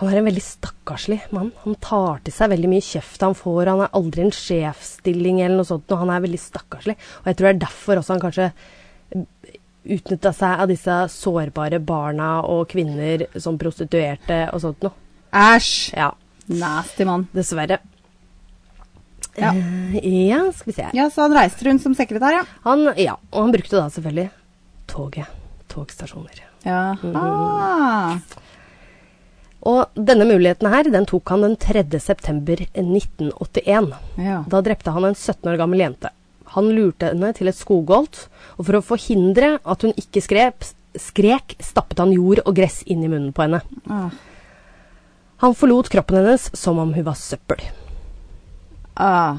Speaker 1: han er en veldig stakkarslig mann. Han tar til seg veldig mye kjeft han får. Han er aldri i en sjefsstilling eller noe sånt, og han er veldig stakkarslig. Og jeg tror det er derfor også han kanskje utnytta seg av disse sårbare barna og kvinner som prostituerte og sånt noe.
Speaker 2: Æsj!
Speaker 1: Ja,
Speaker 2: Nasty mann.
Speaker 1: dessverre.
Speaker 2: Ja.
Speaker 1: Eh, ja, skal vi se her.
Speaker 2: ja, så han reiste rundt som sekretær, ja.
Speaker 1: Han, ja, og han brukte da selvfølgelig toget. Togstasjoner.
Speaker 2: Ja. Ah.
Speaker 1: Og denne muligheten her, den tok han den 3. september 1981.
Speaker 2: Ja.
Speaker 1: Da drepte han en 17 år gammel jente. Han lurte henne til et skogholt, og for å forhindre at hun ikke skrep, skrek, stappet han jord og gress inn i munnen på henne.
Speaker 2: Ah.
Speaker 1: Han forlot kroppen hennes som om hun var søppel.
Speaker 2: Ah.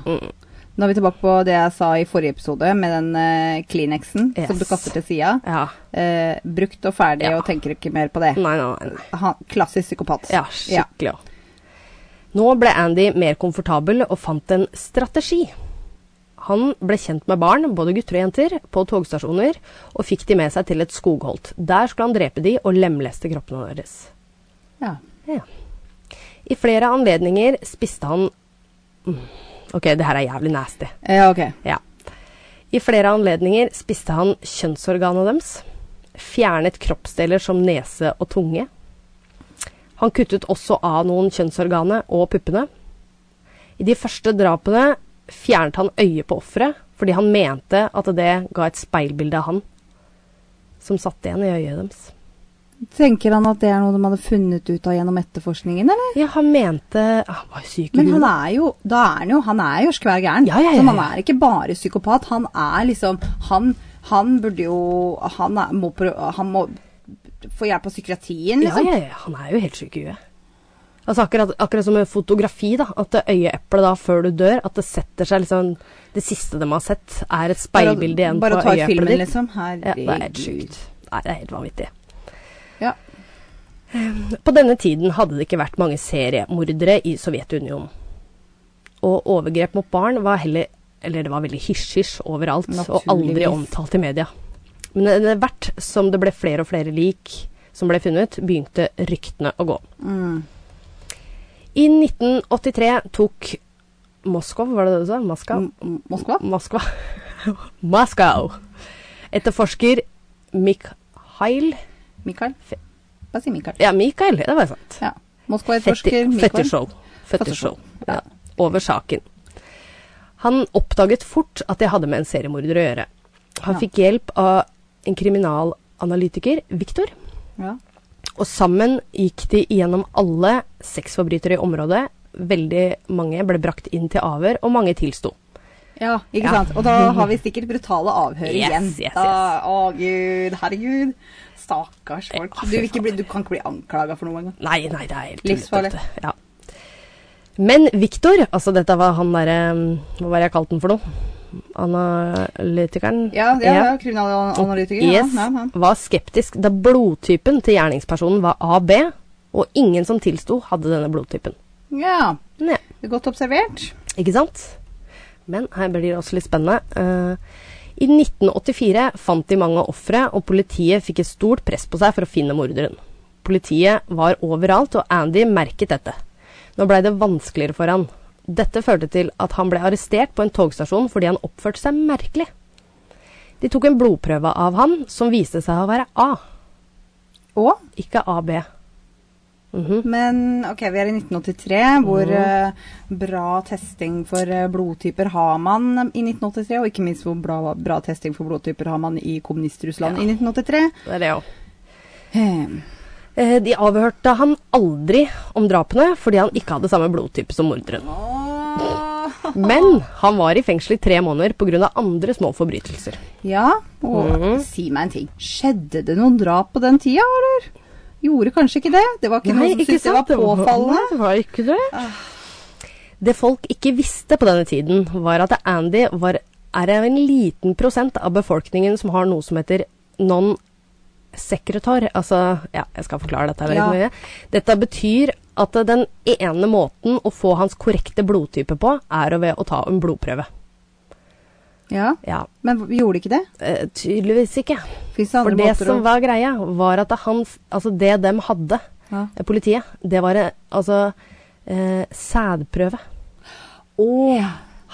Speaker 2: Nå er vi tilbake på det jeg sa i forrige episode, med den eh, Kleenexen
Speaker 1: Yes.
Speaker 2: som du kaster til sida.
Speaker 1: Ja.
Speaker 2: Eh, brukt og ferdig,
Speaker 1: Ja.
Speaker 2: og tenker ikke mer på det.
Speaker 1: Nei, nei, nei. nei.
Speaker 2: Han, klassisk psykopat.
Speaker 1: Ja, skikkelig. også. Nå ble Andy mer komfortabel og fant en strategi. Han ble kjent med barn, både gutter og jenter, på togstasjoner, og fikk de med seg til et skogholt. Der skulle han drepe de og lemleste kroppene deres.
Speaker 2: Ja.
Speaker 1: Ja. I flere anledninger spiste han Mm. Ok, det her er jævlig nasty.
Speaker 2: Ja, ok.
Speaker 1: Ja. I flere anledninger spiste han kjønnsorganet deres. Fjernet kroppsdeler som nese og tunge. Han kuttet også av noen kjønnsorganet og puppene. I de første drapene fjernet han øyet på offeret fordi han mente at det ga et speilbilde av han som satt igjen i øyet deres.
Speaker 2: Tenker han at det er noe de hadde funnet ut av gjennom etterforskningen, eller?
Speaker 1: Ja, han mente Han var jo syk i
Speaker 2: Men han
Speaker 1: huet.
Speaker 2: er jo da er han jo, han er jo skvær gæren.
Speaker 1: Ja, ja, ja,
Speaker 2: Så han
Speaker 1: ja.
Speaker 2: er ikke bare psykopat. Han er liksom Han, han burde jo han, er, må, prø- han må få hjelp av psykiatrien, liksom.
Speaker 1: Ja, ja, ja, han er jo helt syk i huet. Altså akkurat, akkurat som med fotografi, da, at det øyeeplet da før du dør, at det setter seg liksom Det siste de har sett, er et
Speaker 2: Bare å-
Speaker 1: speilbilde igjen
Speaker 2: Bare
Speaker 1: på
Speaker 2: å ta ut
Speaker 1: øyeeplet
Speaker 2: filmen,
Speaker 1: ditt.
Speaker 2: liksom.
Speaker 1: Ja, det er helt
Speaker 2: Herregud.
Speaker 1: sykt. Nei, det er helt vanvittig.
Speaker 2: Ja.
Speaker 1: På denne tiden hadde det ikke vært mange seriemordere i Sovjetunionen. Og overgrep mot barn var heller Eller det var veldig hysj-hysj overalt, og aldri
Speaker 2: Naturligvis.
Speaker 1: omtalt i media. Men etter hvert som det ble flere og flere lik som ble funnet, begynte ryktene å gå.
Speaker 2: Mm.
Speaker 1: I 1983 tok Moskov, var det det du sa? Moskva?
Speaker 2: M- M- Moskva?
Speaker 1: Moskva. (laughs) Moskau. Etterforsker Mikhail
Speaker 2: Mikael? Bare si Mikael.
Speaker 1: Ja, Mikael, det var sant.
Speaker 2: Ja. Moskva-etterforsker
Speaker 1: Fetti-
Speaker 2: Mikael.
Speaker 1: Fetisjov. Fetisjov.
Speaker 2: Fetisjov,
Speaker 1: Ja. Over saken. Han oppdaget fort at jeg hadde med en seriemorder å gjøre. Han
Speaker 2: Ja.
Speaker 1: fikk hjelp av en kriminalanalytiker, Viktor,
Speaker 2: Ja.
Speaker 1: og sammen gikk de gjennom alle sexforbrytere i området. Veldig mange ble brakt inn til avhør, og mange tilsto.
Speaker 2: ja, ikke
Speaker 1: Ja.
Speaker 2: sant. Og da har vi sikkert brutale avhør
Speaker 1: Yes,
Speaker 2: igjen.
Speaker 1: yes, yes.
Speaker 2: Da- Å gud, herregud. Stakkars folk.
Speaker 1: Ja, fy
Speaker 2: Du, vil ikke bli, du kan ikke bli anklaga for noe engang.
Speaker 1: Nei, nei, det er helt
Speaker 2: Livsfarlig.
Speaker 1: tullete, Ja. Men Viktor, altså dette var han derre Hva var det jeg kalte han for noe? Analytikeren?
Speaker 2: Ja, ja, ja. kriminalanalytiker. Ja,
Speaker 1: Yes,
Speaker 2: ja, ja.
Speaker 1: var skeptisk da blodtypen til gjerningspersonen var AB, og ingen som tilsto, hadde denne blodtypen.
Speaker 2: ja.
Speaker 1: Ja,
Speaker 2: det er Godt observert.
Speaker 1: ikke sant? Men her blir det også litt spennende. Eh, I 1984 fant de mange ofre, og politiet fikk et stort press på seg for å finne morderen. Politiet var overalt, og Andy merket dette. Nå blei det vanskeligere for han. Dette førte til at han ble arrestert på en togstasjon fordi han oppførte seg merkelig. De tok en blodprøve av han, som viste seg å være A.
Speaker 2: Og
Speaker 1: Ikke AB.
Speaker 2: Mhm. Men ok, vi er i 1983. Hvor
Speaker 1: Mhm.
Speaker 2: eh, bra testing for eh, blodtyper har man eh, i 1983? Og ikke minst hvor bra, bra testing for blodtyper har man i Kommunist-Russland i 1983?
Speaker 1: Det er det òg. (laughs)
Speaker 2: Hmm.
Speaker 1: De avhørte han aldri om drapene fordi han ikke hadde samme blodtype som morderen.
Speaker 2: Åh.
Speaker 1: Men han var i fengsel i tre måneder pga. andre små forbrytelser.
Speaker 2: Ja, og
Speaker 1: Mhm.
Speaker 2: si meg en ting. Skjedde det noen drap på den tida, eller? Gjorde kanskje ikke det? Det var ikke noen som syntes det var påfallende?
Speaker 1: Nei, det var ikke det. Ah. Det folk ikke visste på denne tiden, var at Andy var, er en liten prosent av befolkningen som har noe som heter non sekretær. Altså, ja, jeg skal forklare dette veldig
Speaker 2: Ja.
Speaker 1: mye. Dette betyr at eh, den ene måten å få hans korrekte blodtype på, er å ved å ta en blodprøve.
Speaker 2: Ja,
Speaker 1: Ja,
Speaker 2: men vi gjorde ikke det?
Speaker 1: eh, tydeligvis ikke.
Speaker 2: Fins det
Speaker 1: For
Speaker 2: andre
Speaker 1: det
Speaker 2: måter å
Speaker 1: som var greia, var at han, altså det de hadde,
Speaker 2: Ja.
Speaker 1: eh, politiet, det var eh, altså eh, sædprøve.
Speaker 2: Åh.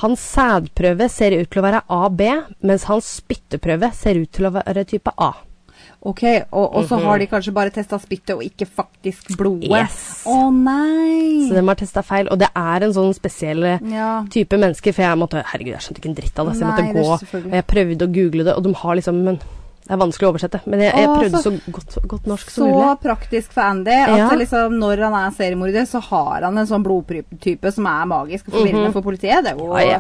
Speaker 1: Hans sædprøve ser ut til å være AB, mens hans spytteprøve ser ut til å være type A.
Speaker 2: Ok, og, og så har de kanskje bare testa spyttet og ikke faktisk blodet.
Speaker 1: Mhm. Yes.
Speaker 2: Å nei!
Speaker 1: Så de har testa feil, og det er en sånn spesiell eh,
Speaker 2: Ja.
Speaker 1: type mennesker, for jeg måtte Herregud, jeg skjønte ikke en dritt av det, så jeg
Speaker 2: Nei,
Speaker 1: måtte
Speaker 2: det er
Speaker 1: gå,
Speaker 2: selvfølgelig.
Speaker 1: og jeg prøvde å google det, og de har liksom Men Det er vanskelig å oversette, men jeg, jeg
Speaker 2: Å,
Speaker 1: prøvde så,
Speaker 2: så-
Speaker 1: godt, godt norsk som
Speaker 2: Så
Speaker 1: mulig.
Speaker 2: praktisk for Andy at
Speaker 1: Ja.
Speaker 2: det liksom, når han er seriemorder, så har han en sånn blodtype som er magisk og forvirrende for politiet. Det er jo
Speaker 1: Mhm. Ja, ja.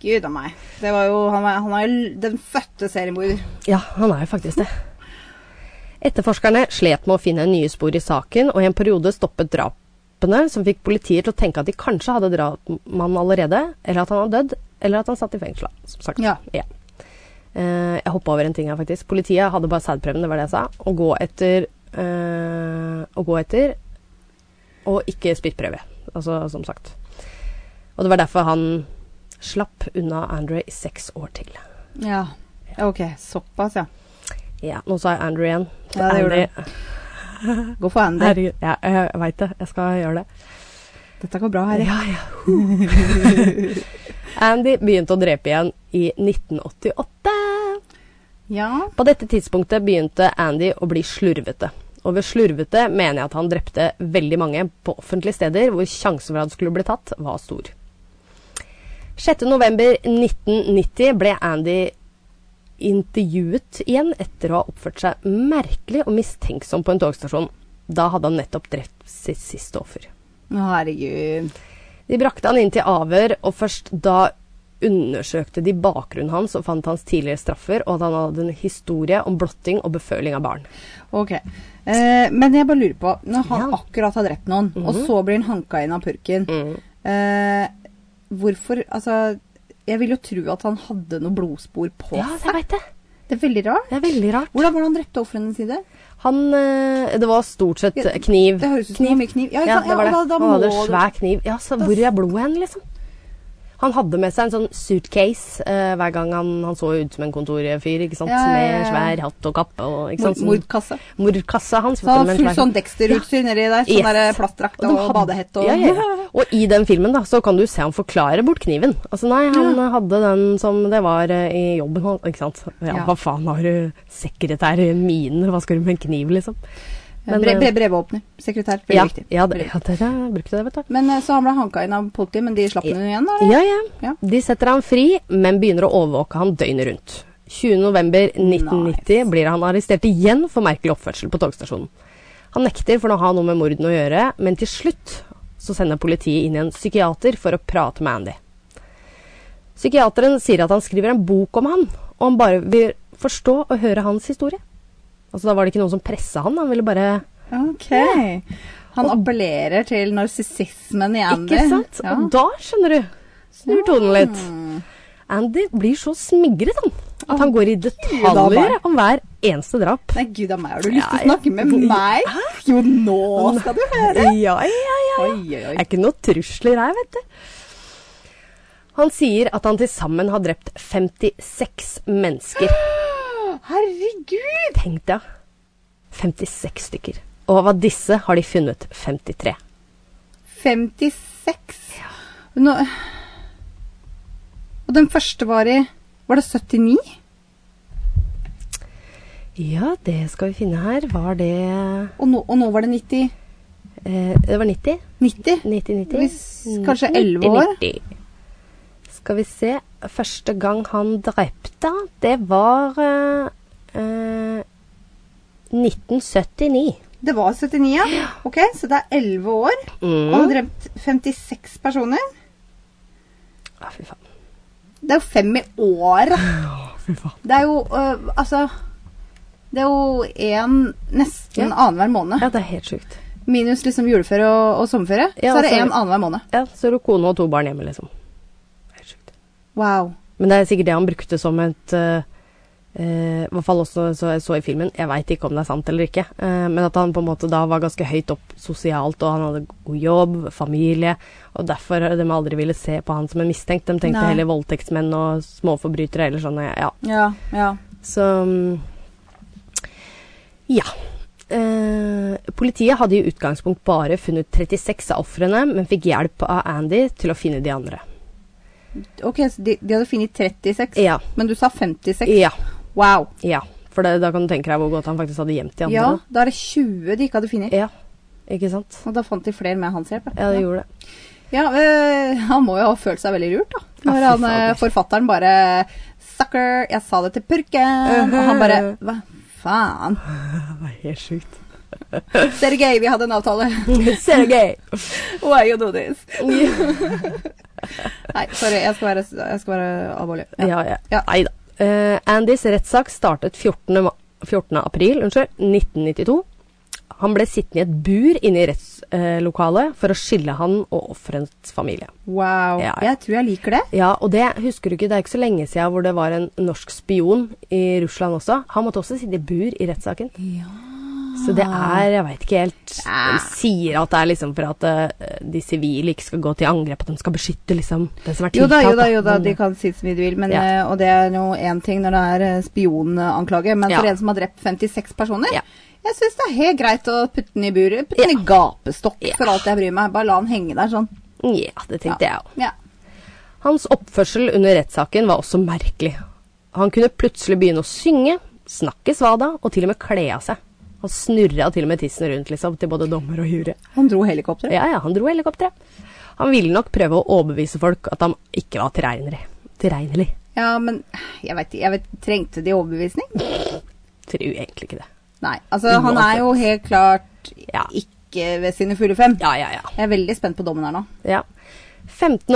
Speaker 2: Gud a meg. Det var jo, han, er, han er jo den fødte seriemorder.
Speaker 1: Ja, han er jo faktisk det. Etterforskerne slet med å finne nye spor i saken, og i en periode stoppet drapene, som fikk politiet til å tenke at de kanskje hadde drapt mannen allerede, eller at han hadde dødd, eller at han satt i fengsel. Som sagt.
Speaker 2: Ja.
Speaker 1: Eh, jeg hoppa over en ting her, faktisk. Politiet hadde bare sædprøven, det var det jeg sa. Å gå etter eh, Å gå etter og ikke spyttprøve. Altså, som sagt. Og det var derfor han slapp unna Andre i seks år til.
Speaker 2: Ja. Ok, såpass, ja.
Speaker 1: Ja, nå sa jeg Andrew igjen.
Speaker 2: Ja, det gjorde
Speaker 1: Andy-
Speaker 2: Gå for Andy.
Speaker 1: Herregud. Ja, jeg jeg veit det. Jeg skal gjøre det.
Speaker 2: Dette går bra, Harry.
Speaker 1: Ja, ja. (laughs) Andy begynte å drepe igjen i 1988.
Speaker 2: Ja.
Speaker 1: På dette tidspunktet begynte Andy å bli slurvete. Og ved slurvete mener jeg at han drepte veldig mange på offentlige steder hvor sjansen for at han skulle bli tatt, var stor. 6.11.1990 ble Andy intervjuet igjen etter å ha oppført seg merkelig og mistenksom på en togstasjon. Da hadde han nettopp drept sitt siste offer.
Speaker 2: Å, herregud.
Speaker 1: De brakte han inn til avhør, og først da undersøkte de bakgrunnen hans og fant hans tidligere straffer, og at han hadde en historie om blotting og beføling av barn.
Speaker 2: Ok. Eh, men jeg bare lurer på Når han
Speaker 1: Ja. Mhm. Mm.
Speaker 2: akkurat har drept noen, og så blir han hanka inn av purken eh, Hvorfor Altså, jeg vil jo tro at han hadde noe blodspor på seg.
Speaker 1: veit det.
Speaker 2: Det er veldig rart.
Speaker 1: Det er veldig rart.
Speaker 2: Hvordan var det han drepte ofrene sine?
Speaker 1: Han eh, Det var stort sett
Speaker 2: Ja,
Speaker 1: kniv.
Speaker 2: Det høres ut som det var mye kniv. Ja, ikke
Speaker 1: Ja,
Speaker 2: sant?
Speaker 1: det var det.
Speaker 2: Ja, da, da
Speaker 1: han hadde
Speaker 2: må
Speaker 1: en
Speaker 2: du-
Speaker 1: svær kniv. Ja, så hvor er blodet hen, liksom? Han hadde med seg en sånn suitcase eh, hver gang han, han så ut som en kontorfyr, ikke sant?
Speaker 2: Ja, ja, ja,
Speaker 1: med
Speaker 2: ja.
Speaker 1: svær hatt og kappe og ikke
Speaker 2: mord-
Speaker 1: sant? Sånn-
Speaker 2: Mordkasse.
Speaker 1: Mordkassa hans.
Speaker 2: Så
Speaker 1: vet
Speaker 2: han har
Speaker 1: du, med en
Speaker 2: fullt
Speaker 1: svær-
Speaker 2: sånn Dexter-utstyr nedi der. Sånn
Speaker 1: Yes.
Speaker 2: der plattdrakt
Speaker 1: de
Speaker 2: og,
Speaker 1: hadde-
Speaker 2: badehette og
Speaker 1: ja, ja,
Speaker 2: (laughs)
Speaker 1: ja. (laughs) Og i den filmen da, så kan du se han forklare bort kniven. Altså nei, han eh, hadde den som det var eh, i jobben hans, ikke sant. Ja,
Speaker 2: Ja.
Speaker 1: hva faen har du sekretær i mine, hva skal du med en kniv liksom? Men,
Speaker 2: Bre
Speaker 1: eh,
Speaker 2: bre brevåpner. Sekretær. Veldig
Speaker 1: ja,
Speaker 2: viktig.
Speaker 1: ja, det- ja, dere brukte det, vet du.
Speaker 2: Men eh, så han ble hanka inn av politiet, men de slapp
Speaker 1: Ja.
Speaker 2: ham igjen, da? eller?
Speaker 1: Ja, ja.
Speaker 2: Ja.
Speaker 1: De setter han fri, men begynner å overvåke han døgnet rundt. 20.11.1990 blir han arrestert igjen for merkelig oppførsel på togstasjonen. Han nekter for å ha noe med mordene å gjøre, men til slutt så sender politiet inn en psykiater for å prate med Andy. Psykiateren sier at han skriver en bok om han, og han bare vil forstå og høre hans historie. Altså Da var det ikke noen som pressa han, han ville bare
Speaker 2: Ok. Han appellerer til narsissismen i Andy.
Speaker 1: Ikke sant?
Speaker 2: Ja.
Speaker 1: Og da, skjønner du, snur tonen litt.
Speaker 2: Mm.
Speaker 1: Andy blir så smigret han, at han går i
Speaker 2: da bare.
Speaker 1: detaljer om hver eneste drap.
Speaker 2: Nei, gud a meg, har du lyst til
Speaker 1: Ja,
Speaker 2: å snakke med meg? Jo, nå skal du høre!
Speaker 1: Ja, ja, ja.
Speaker 2: Oi, oi,
Speaker 1: Det
Speaker 2: oi.
Speaker 1: er ikke noe trusler her, vet du. Han sier at han til sammen har drept 56 mennesker.
Speaker 2: Herregud!
Speaker 1: Tenk deg. 56 stykker. Og av disse har de funnet 53.
Speaker 2: 56. Nå... Og den første var i Var det 79?
Speaker 1: Ja, det skal vi finne her. Var det
Speaker 2: Og nå, og nå var det 90?
Speaker 1: eh, Det var 90?
Speaker 2: 90?
Speaker 1: 90-90?
Speaker 2: Hvis kanskje 11 år?
Speaker 1: 90. Mm. Skal vi se. Første gang han drepte, det var eh, eh, 1979.
Speaker 2: Det var 79, ja. Ok, Så det er 11 år. Og
Speaker 1: Mm.
Speaker 2: han har drept 56 personer.
Speaker 1: Å, fy faen.
Speaker 2: Det er jo fem i året.
Speaker 1: fy faen.
Speaker 2: Det er jo øh, Altså Det er jo én nesten
Speaker 1: Ja.
Speaker 2: annenhver måned.
Speaker 1: Ja, det er helt sjukt.
Speaker 2: Minus liksom juleferie og, og sommerferie.
Speaker 1: Ja,
Speaker 2: så er det
Speaker 1: så er
Speaker 2: én
Speaker 1: det-
Speaker 2: annenhver måned.
Speaker 1: Ja, så er du kone og to barn hjemme, liksom. Helt sjukt.
Speaker 2: Wow.
Speaker 1: Men det er sikkert det han brukte som et eh, eh, I hvert fall også så jeg så i filmen. Jeg veit ikke om det er sant eller ikke. eh, men at han på en måte da var ganske høyt opp sosialt, og han hadde god jobb, familie. Og derfor de aldri ville se på han som en mistenkt. De tenkte
Speaker 2: Nei.
Speaker 1: heller voldtektsmenn og småforbrytere eller sånn. Ja.
Speaker 2: Ja, ja.
Speaker 1: Så mm, Ja. Eh, politiet hadde i utgangspunkt bare funnet 36 av ofrene, men fikk hjelp av Andy til å finne de andre.
Speaker 2: Ok, så de, de hadde funnet 36,
Speaker 1: Ja.
Speaker 2: men du sa 56.
Speaker 1: Ja.
Speaker 2: Wow.
Speaker 1: Ja, for det, da kan du tenke deg hvor godt han faktisk hadde gjemt de
Speaker 2: Ja,
Speaker 1: andre.
Speaker 2: da er det 20 de ikke hadde funnet.
Speaker 1: Ja. Ikke sant?
Speaker 2: Og da fant de flere med hans hjelp.
Speaker 1: Ja, det gjorde det.
Speaker 2: Ja, øh, han må jo ha følt seg veldig lurt, da.
Speaker 1: Ja,
Speaker 2: Når
Speaker 1: fy
Speaker 2: han, øh,
Speaker 1: fader.
Speaker 2: forfatteren bare 'Sucker, jeg sa det til purken'. Og han bare
Speaker 1: Uh-huh.
Speaker 2: 'Hva faen'.
Speaker 1: Det var helt sjukt.
Speaker 2: Sergej, vi hadde en avtale.
Speaker 1: (laughs) Sergej!
Speaker 2: Why you do this? Nei, sorry. Jeg skal være, jeg skal være alvorlig. Ja.
Speaker 1: Ja, ja. Nei da. Eh, Andys rettssak startet 14. ma- 14. april unnskyld, 1992. Han ble sittende i et bur inne i rettslokalet for å skille han og offerets familie.
Speaker 2: Wow.
Speaker 1: Ja, ja.
Speaker 2: Jeg tror jeg liker det.
Speaker 1: Ja, og det husker du ikke, det er ikke så lenge siden hvor det var en norsk spion i Russland også. Han måtte også sitte i bur i rettssaken. Så det er, jeg veit ikke helt De sier at det er liksom for at eh, de sivile ikke skal gå til angrep, at de skal beskytte liksom den som er
Speaker 2: Jo
Speaker 1: tiltalt.
Speaker 2: da, jo da, jo da,
Speaker 1: Men-
Speaker 2: de kan si så mye de vil, men,
Speaker 1: Ja.
Speaker 2: eh, og det er jo én ting når det er eh, spionanklage, men for
Speaker 1: Ja.
Speaker 2: en som har drept 56 personer
Speaker 1: Ja.
Speaker 2: Jeg syns det er helt greit å putte den i buret. Putte den i gapestokk,
Speaker 1: Ja.
Speaker 2: for alt jeg bryr meg. Bare la den henge der sånn.
Speaker 1: eh, Ja, det tenkte jeg òg.
Speaker 2: Ja.
Speaker 1: Hans oppførsel under rettssaken var også merkelig. Han kunne plutselig begynne å synge, snakke svada og til og med kle av seg. Han snurra til og med tissen rundt liksom, til både dommer og jury.
Speaker 2: Han dro helikopteret.
Speaker 1: Ja, ja, han dro helikopteret. Han ville nok prøve å overbevise folk at han ikke var tilregnelig. Tilregnelig.
Speaker 2: Ja, men jeg vet, jeg vet, trengte de overbevisning?
Speaker 1: Tror egentlig ikke det.
Speaker 2: Nei. Altså, han er jo helt klart
Speaker 1: Ja.
Speaker 2: ikke ved sine fulle fem.
Speaker 1: Ja, ja, ja.
Speaker 2: Jeg er veldig spent på dommen her nå.
Speaker 1: ja.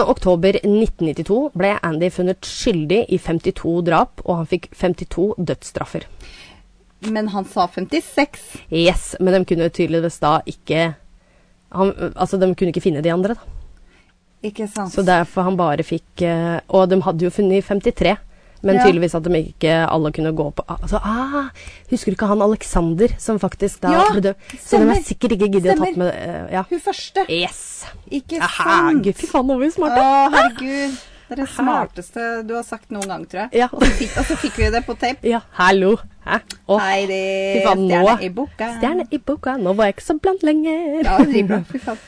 Speaker 1: 15.10.1992 ble Andy funnet skyldig i 52 drap, og han fikk 52 dødsstraffer.
Speaker 2: Men han sa 56.
Speaker 1: Yes, men de kunne tydeligvis da ikke han, Altså, de kunne ikke finne de andre, da.
Speaker 2: Ikke sant?
Speaker 1: Så derfor han bare fikk eh, Og de hadde jo funnet 53. Men
Speaker 2: Ja.
Speaker 1: tydeligvis at de ikke alle kunne gå på altså, ah, Husker du ikke han Alexander som faktisk da
Speaker 2: Ja,
Speaker 1: ble dømt? Så de
Speaker 2: stemmer.
Speaker 1: har sikkert ikke giddet å tatt
Speaker 2: Stemmer.
Speaker 1: med eh, Ja.
Speaker 2: Hun første.
Speaker 1: Yes.
Speaker 2: Ikke
Speaker 1: Aha,
Speaker 2: sant?
Speaker 1: gud, Fy faen, nå var vi
Speaker 2: Å,
Speaker 1: smarte.
Speaker 2: herregud. Det er det smarteste du har sagt noen gang, tror jeg.
Speaker 1: Ja.
Speaker 2: Og, så fikk, og så fikk vi det på tape.
Speaker 1: Ja, hallo. Hæ? Å,
Speaker 2: Heidi,
Speaker 1: fy faen, nå.
Speaker 2: stjerne i boka.
Speaker 1: Stjerne i boka. Nå var jeg ikke så blant lenger.
Speaker 2: Ja, dritbra. Fy
Speaker 1: (laughs)
Speaker 2: faen.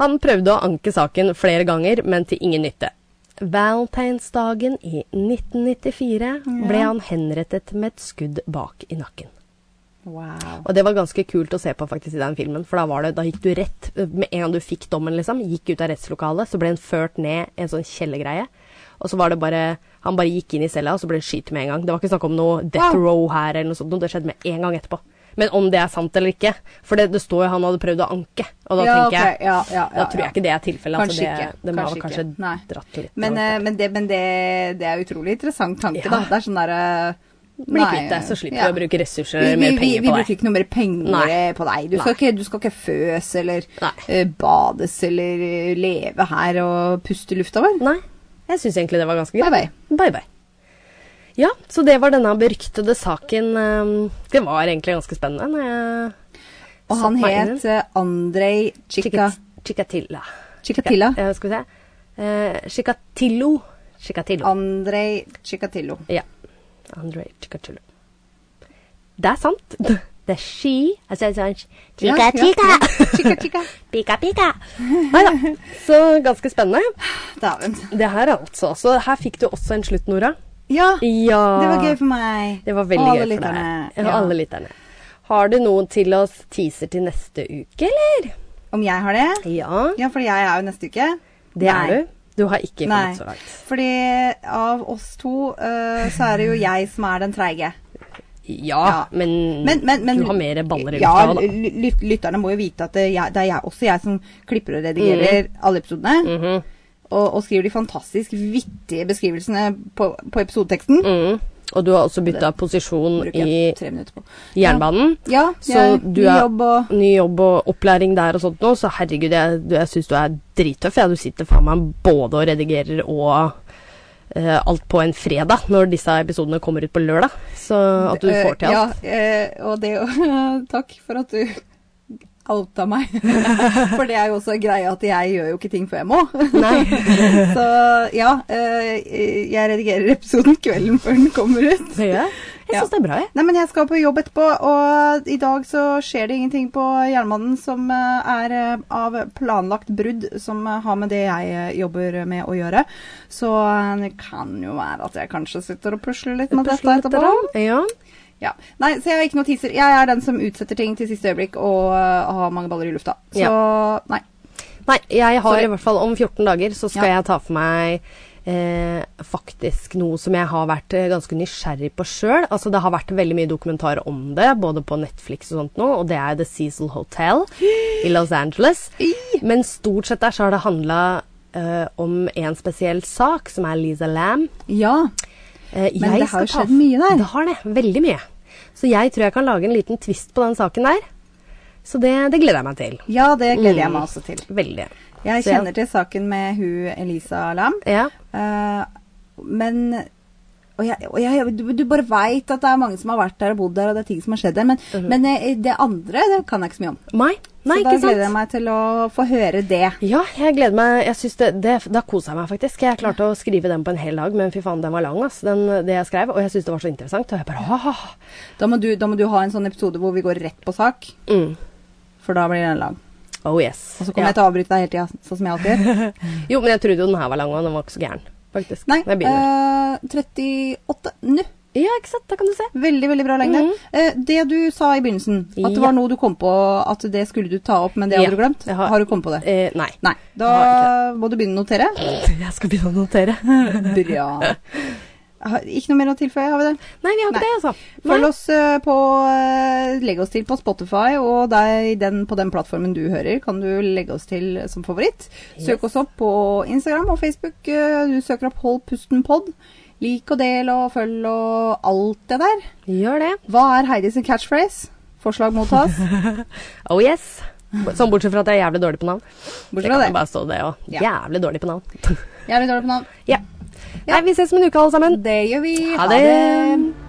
Speaker 1: Han prøvde å anke saken flere ganger, men til ingen nytte. Valentinsdagen i 1994 ble han henrettet med et skudd bak i nakken.
Speaker 2: Wow.
Speaker 1: Og det var ganske kult å se på faktisk i den filmen, for da var det, da gikk du rett, med en gang du fikk dommen liksom, gikk ut av rettslokalet, så ble han ført ned en sånn kjellergreie, og så var det bare, han bare gikk inn i cella, og så ble han skyt med en gang. Det var ikke snakk om noe death
Speaker 2: Wow.
Speaker 1: row her eller noe sånt, noe. det skjedde med en gang etterpå. Men om det er sant eller ikke, for det, det står jo han hadde prøvd å anke, og da
Speaker 2: Ja,
Speaker 1: tenker jeg,
Speaker 2: ok, ja, ja, ja,
Speaker 1: da tror jeg
Speaker 2: ja.
Speaker 1: ikke det er tilfellet.
Speaker 2: Kanskje
Speaker 1: altså,
Speaker 2: ikke,
Speaker 1: det, de har
Speaker 2: kanskje
Speaker 1: vel kanskje
Speaker 2: ikke, nei.
Speaker 1: dratt litt.
Speaker 2: Men,
Speaker 1: langt.
Speaker 2: eh, men, det, men det, det er utrolig interessant tanke,
Speaker 1: Ja.
Speaker 2: da. Det er sånn derre
Speaker 1: Bli kvitt deg, så slipper du å bruke ressurser
Speaker 2: vi,
Speaker 1: eller
Speaker 2: vi,
Speaker 1: mer
Speaker 2: vi,
Speaker 1: penger
Speaker 2: vi
Speaker 1: på
Speaker 2: bruker
Speaker 1: deg.
Speaker 2: ikke noe mer penger
Speaker 1: Nei.
Speaker 2: på deg. Du skal,
Speaker 1: Nei.
Speaker 2: ikke, du skal ikke føs eller
Speaker 1: Nei.
Speaker 2: eh, bades eller eh, leve her og puste lufta vår.
Speaker 1: Nei, jeg syns egentlig det var ganske greit.
Speaker 2: Bye,
Speaker 1: Bye bye. Ja, så det var denne beryktede saken. ehm, Det var egentlig ganske spennende. når jeg
Speaker 2: Og han
Speaker 1: satte meg inn i
Speaker 2: het eh, Andrej Chika,
Speaker 1: Chicat- Chikatilla.
Speaker 2: Chikatilla.
Speaker 1: Ja, skal vi se. Eh, Chikatillo. Chikatillo.
Speaker 2: Andrej Chikatillo.
Speaker 1: Ja. Andre Chikatilo. Det er sant. (laughs) Det er ski. Altså, jeg sa
Speaker 2: Ja, ja,
Speaker 1: Chikatilla.
Speaker 2: ja. Chika, chika.
Speaker 1: (laughs) Pika, pika. Nei da. Så ganske spennende.
Speaker 2: Dæven.
Speaker 1: Det her er altså, altså Her fikk du også en slutt, Nora.
Speaker 2: Ja,
Speaker 1: Ja.
Speaker 2: det var gøy for meg.
Speaker 1: Det var veldig
Speaker 2: Og
Speaker 1: gøy
Speaker 2: alle
Speaker 1: for
Speaker 2: lytterne.
Speaker 1: deg. Ja.
Speaker 2: Ja.
Speaker 1: Alle lytterne. Har du noen til oss teaser til neste uke, eller?
Speaker 2: Om jeg har det?
Speaker 1: Ja,
Speaker 2: Ja, fordi jeg er jo neste uke.
Speaker 1: det
Speaker 2: Nei.
Speaker 1: er du. Du har ikke
Speaker 2: Nei.
Speaker 1: kommet så langt.
Speaker 2: Fordi av oss to, eh, så er det jo jeg som er den treige.
Speaker 1: Ja,
Speaker 2: Ja.
Speaker 1: Men,
Speaker 2: Men, men, men
Speaker 1: Mm. du har mer baller i
Speaker 2: ja,
Speaker 1: lufta. da.
Speaker 2: ly- lyt- lytterne må jo vite at det er, jeg, det er jeg, også jeg som klipper og redigerer
Speaker 1: Mm.
Speaker 2: alle episodene.
Speaker 1: Mhm.
Speaker 2: og, og skriver de fantastisk vittige beskrivelsene på, på episodeteksten.
Speaker 1: Mm. Og du har også bytta posisjon
Speaker 2: Bruker
Speaker 1: i
Speaker 2: jeg tre minutter på.
Speaker 1: jernbanen.
Speaker 2: Ja,
Speaker 1: Så
Speaker 2: jeg,
Speaker 1: du
Speaker 2: ny
Speaker 1: er-
Speaker 2: jobb og
Speaker 1: Ny jobb og opplæring der og sånt nå, så herregud, jeg, du- jeg syns du er drittøff. Ja. Du sitter faen meg både og redigerer og eh, alt på en fredag, når disse episodene kommer ut på lørdag. Så at du
Speaker 2: Eh,
Speaker 1: får til alt.
Speaker 2: Ja, eh, og det (laughs) Takk for at du outa
Speaker 1: (laughs)
Speaker 2: meg. for det er jo også greia at jeg gjør jo ikke ting før
Speaker 1: (laughs)
Speaker 2: jeg må.
Speaker 1: Nei.
Speaker 2: Så ja, eh, jeg redigerer episoden kvelden før den kommer ut.
Speaker 1: Jeg
Speaker 2: (laughs) Ja.
Speaker 1: syns det er bra, jeg.
Speaker 2: Nei, men jeg skal på jobb etterpå, og i dag så skjer det ingenting på jernbanen som eh, er eh, av planlagt brudd som eh, har med det jeg eh, jobber med å gjøre. Så eh, det kan jo være at jeg kanskje sitter og pusler litt med dette
Speaker 1: Pusler litt
Speaker 2: etterpå.
Speaker 1: grann. Ja.
Speaker 2: Ja. Nei, så jeg har ikke noe teaser. Jeg er den som utsetter ting til siste øyeblikk og eh, har mange baller i lufta. Så nei.
Speaker 1: Nei, jeg har
Speaker 2: Sorry.
Speaker 1: i hvert fall om 14 dager så skal
Speaker 2: Ja.
Speaker 1: jeg ta for meg eh, faktisk noe som jeg har vært eh, ganske nysgjerrig på sjøl. Altså, det har vært veldig mye dokumentarer om det, både på Netflix og sånt nå, og det er The Cecil Hotel i Los
Speaker 2: (gasps)
Speaker 1: Angeles. Men stort sett der så har det handla om en spesiell sak, som er Lisa Lam.
Speaker 2: Ja.
Speaker 1: Eh,
Speaker 2: Men
Speaker 1: jeg
Speaker 2: det har
Speaker 1: skal
Speaker 2: jo
Speaker 1: ta-
Speaker 2: skjedd mye der.
Speaker 1: Det har det. Veldig mye. Så jeg tror jeg kan lage en liten twist på den saken der. Så det, det gleder jeg meg til.
Speaker 2: Ja, det gleder jeg
Speaker 1: Mm.
Speaker 2: meg også til.
Speaker 1: Veldig.
Speaker 2: Jeg
Speaker 1: Så jeg-
Speaker 2: kjenner til saken med hun Elisa Lam.
Speaker 1: Ja.
Speaker 2: Eh, men og jeg, og jeg, du, du bare veit at det er mange som har vært der og bodd der, og det er ting som har skjedd der. Men, men eh, det andre det kan jeg ikke så mye om.
Speaker 1: Nei, Mhm. nei
Speaker 2: så da
Speaker 1: ikke
Speaker 2: gleder jeg
Speaker 1: sant?
Speaker 2: meg til å få høre det.
Speaker 1: Ja, jeg gleder meg. Jeg synes det, det, da koser jeg meg faktisk. Jeg klarte å skrive den på en hel dag, men fy faen, den var lang, ass. Den, det jeg skrev. Og jeg syns det var så interessant. Og jeg bare ah.
Speaker 2: Da må, du, da må du ha en sånn episode hvor vi går rett på sak,
Speaker 1: Mm.
Speaker 2: for da blir den lang.
Speaker 1: Oh yes.
Speaker 2: Og så kommer jeg til å avbryte deg hele tida, sånn som jeg alltid gjør.
Speaker 1: Jo, men jeg trodde jo den her var lang, og den var ikke så gæren, faktisk.
Speaker 2: Nei,
Speaker 1: Når jeg begynner.
Speaker 2: eh, 38 nå.
Speaker 1: Ja, ikke sant. Da kan du se.
Speaker 2: Veldig veldig bra lengde.
Speaker 1: Mhm.
Speaker 2: Eh, det du sa i begynnelsen, at det
Speaker 1: Ja.
Speaker 2: var noe du kom på at det skulle du ta opp, men det
Speaker 1: Ja,
Speaker 2: hadde du glemt.
Speaker 1: jeg har-
Speaker 2: Har... du kommet på det?
Speaker 1: Eh,
Speaker 2: (laughs)
Speaker 1: nei.
Speaker 2: Nei. Da må du begynne å notere.
Speaker 1: (laughs) Jeg skal begynne å notere. Nei,
Speaker 2: Bra. Har- Ikke noe mer å tilføye, har vi det?
Speaker 1: vi har ikke
Speaker 2: Nei.
Speaker 1: det, altså. Nei.
Speaker 2: Følg oss eh, på eh, Legg oss til på Spotify, og der, i den, på den plattformen du hører, kan du legge oss til som favoritt. Søk oss opp på Instagram og Facebook. eh, Du søker opp Hold pusten pod. Lik og del og følg og alt det der.
Speaker 1: Gjør det.
Speaker 2: Hva er Heidi sin catchphrase? Forslag
Speaker 1: (laughs)
Speaker 2: mottas.
Speaker 1: Oh yes. Sånn bortsett fra at jeg er jævlig dårlig på navn.
Speaker 2: Bortsett
Speaker 1: kan jo
Speaker 2: fra det.
Speaker 1: bare stå det òg.
Speaker 2: Ja.
Speaker 1: Jævlig dårlig på navn.
Speaker 2: Jeg er litt dårlig på navn.
Speaker 1: ja. Nei, vi ses om en uke, alle sammen.
Speaker 2: Det gjør vi.
Speaker 1: Ha det.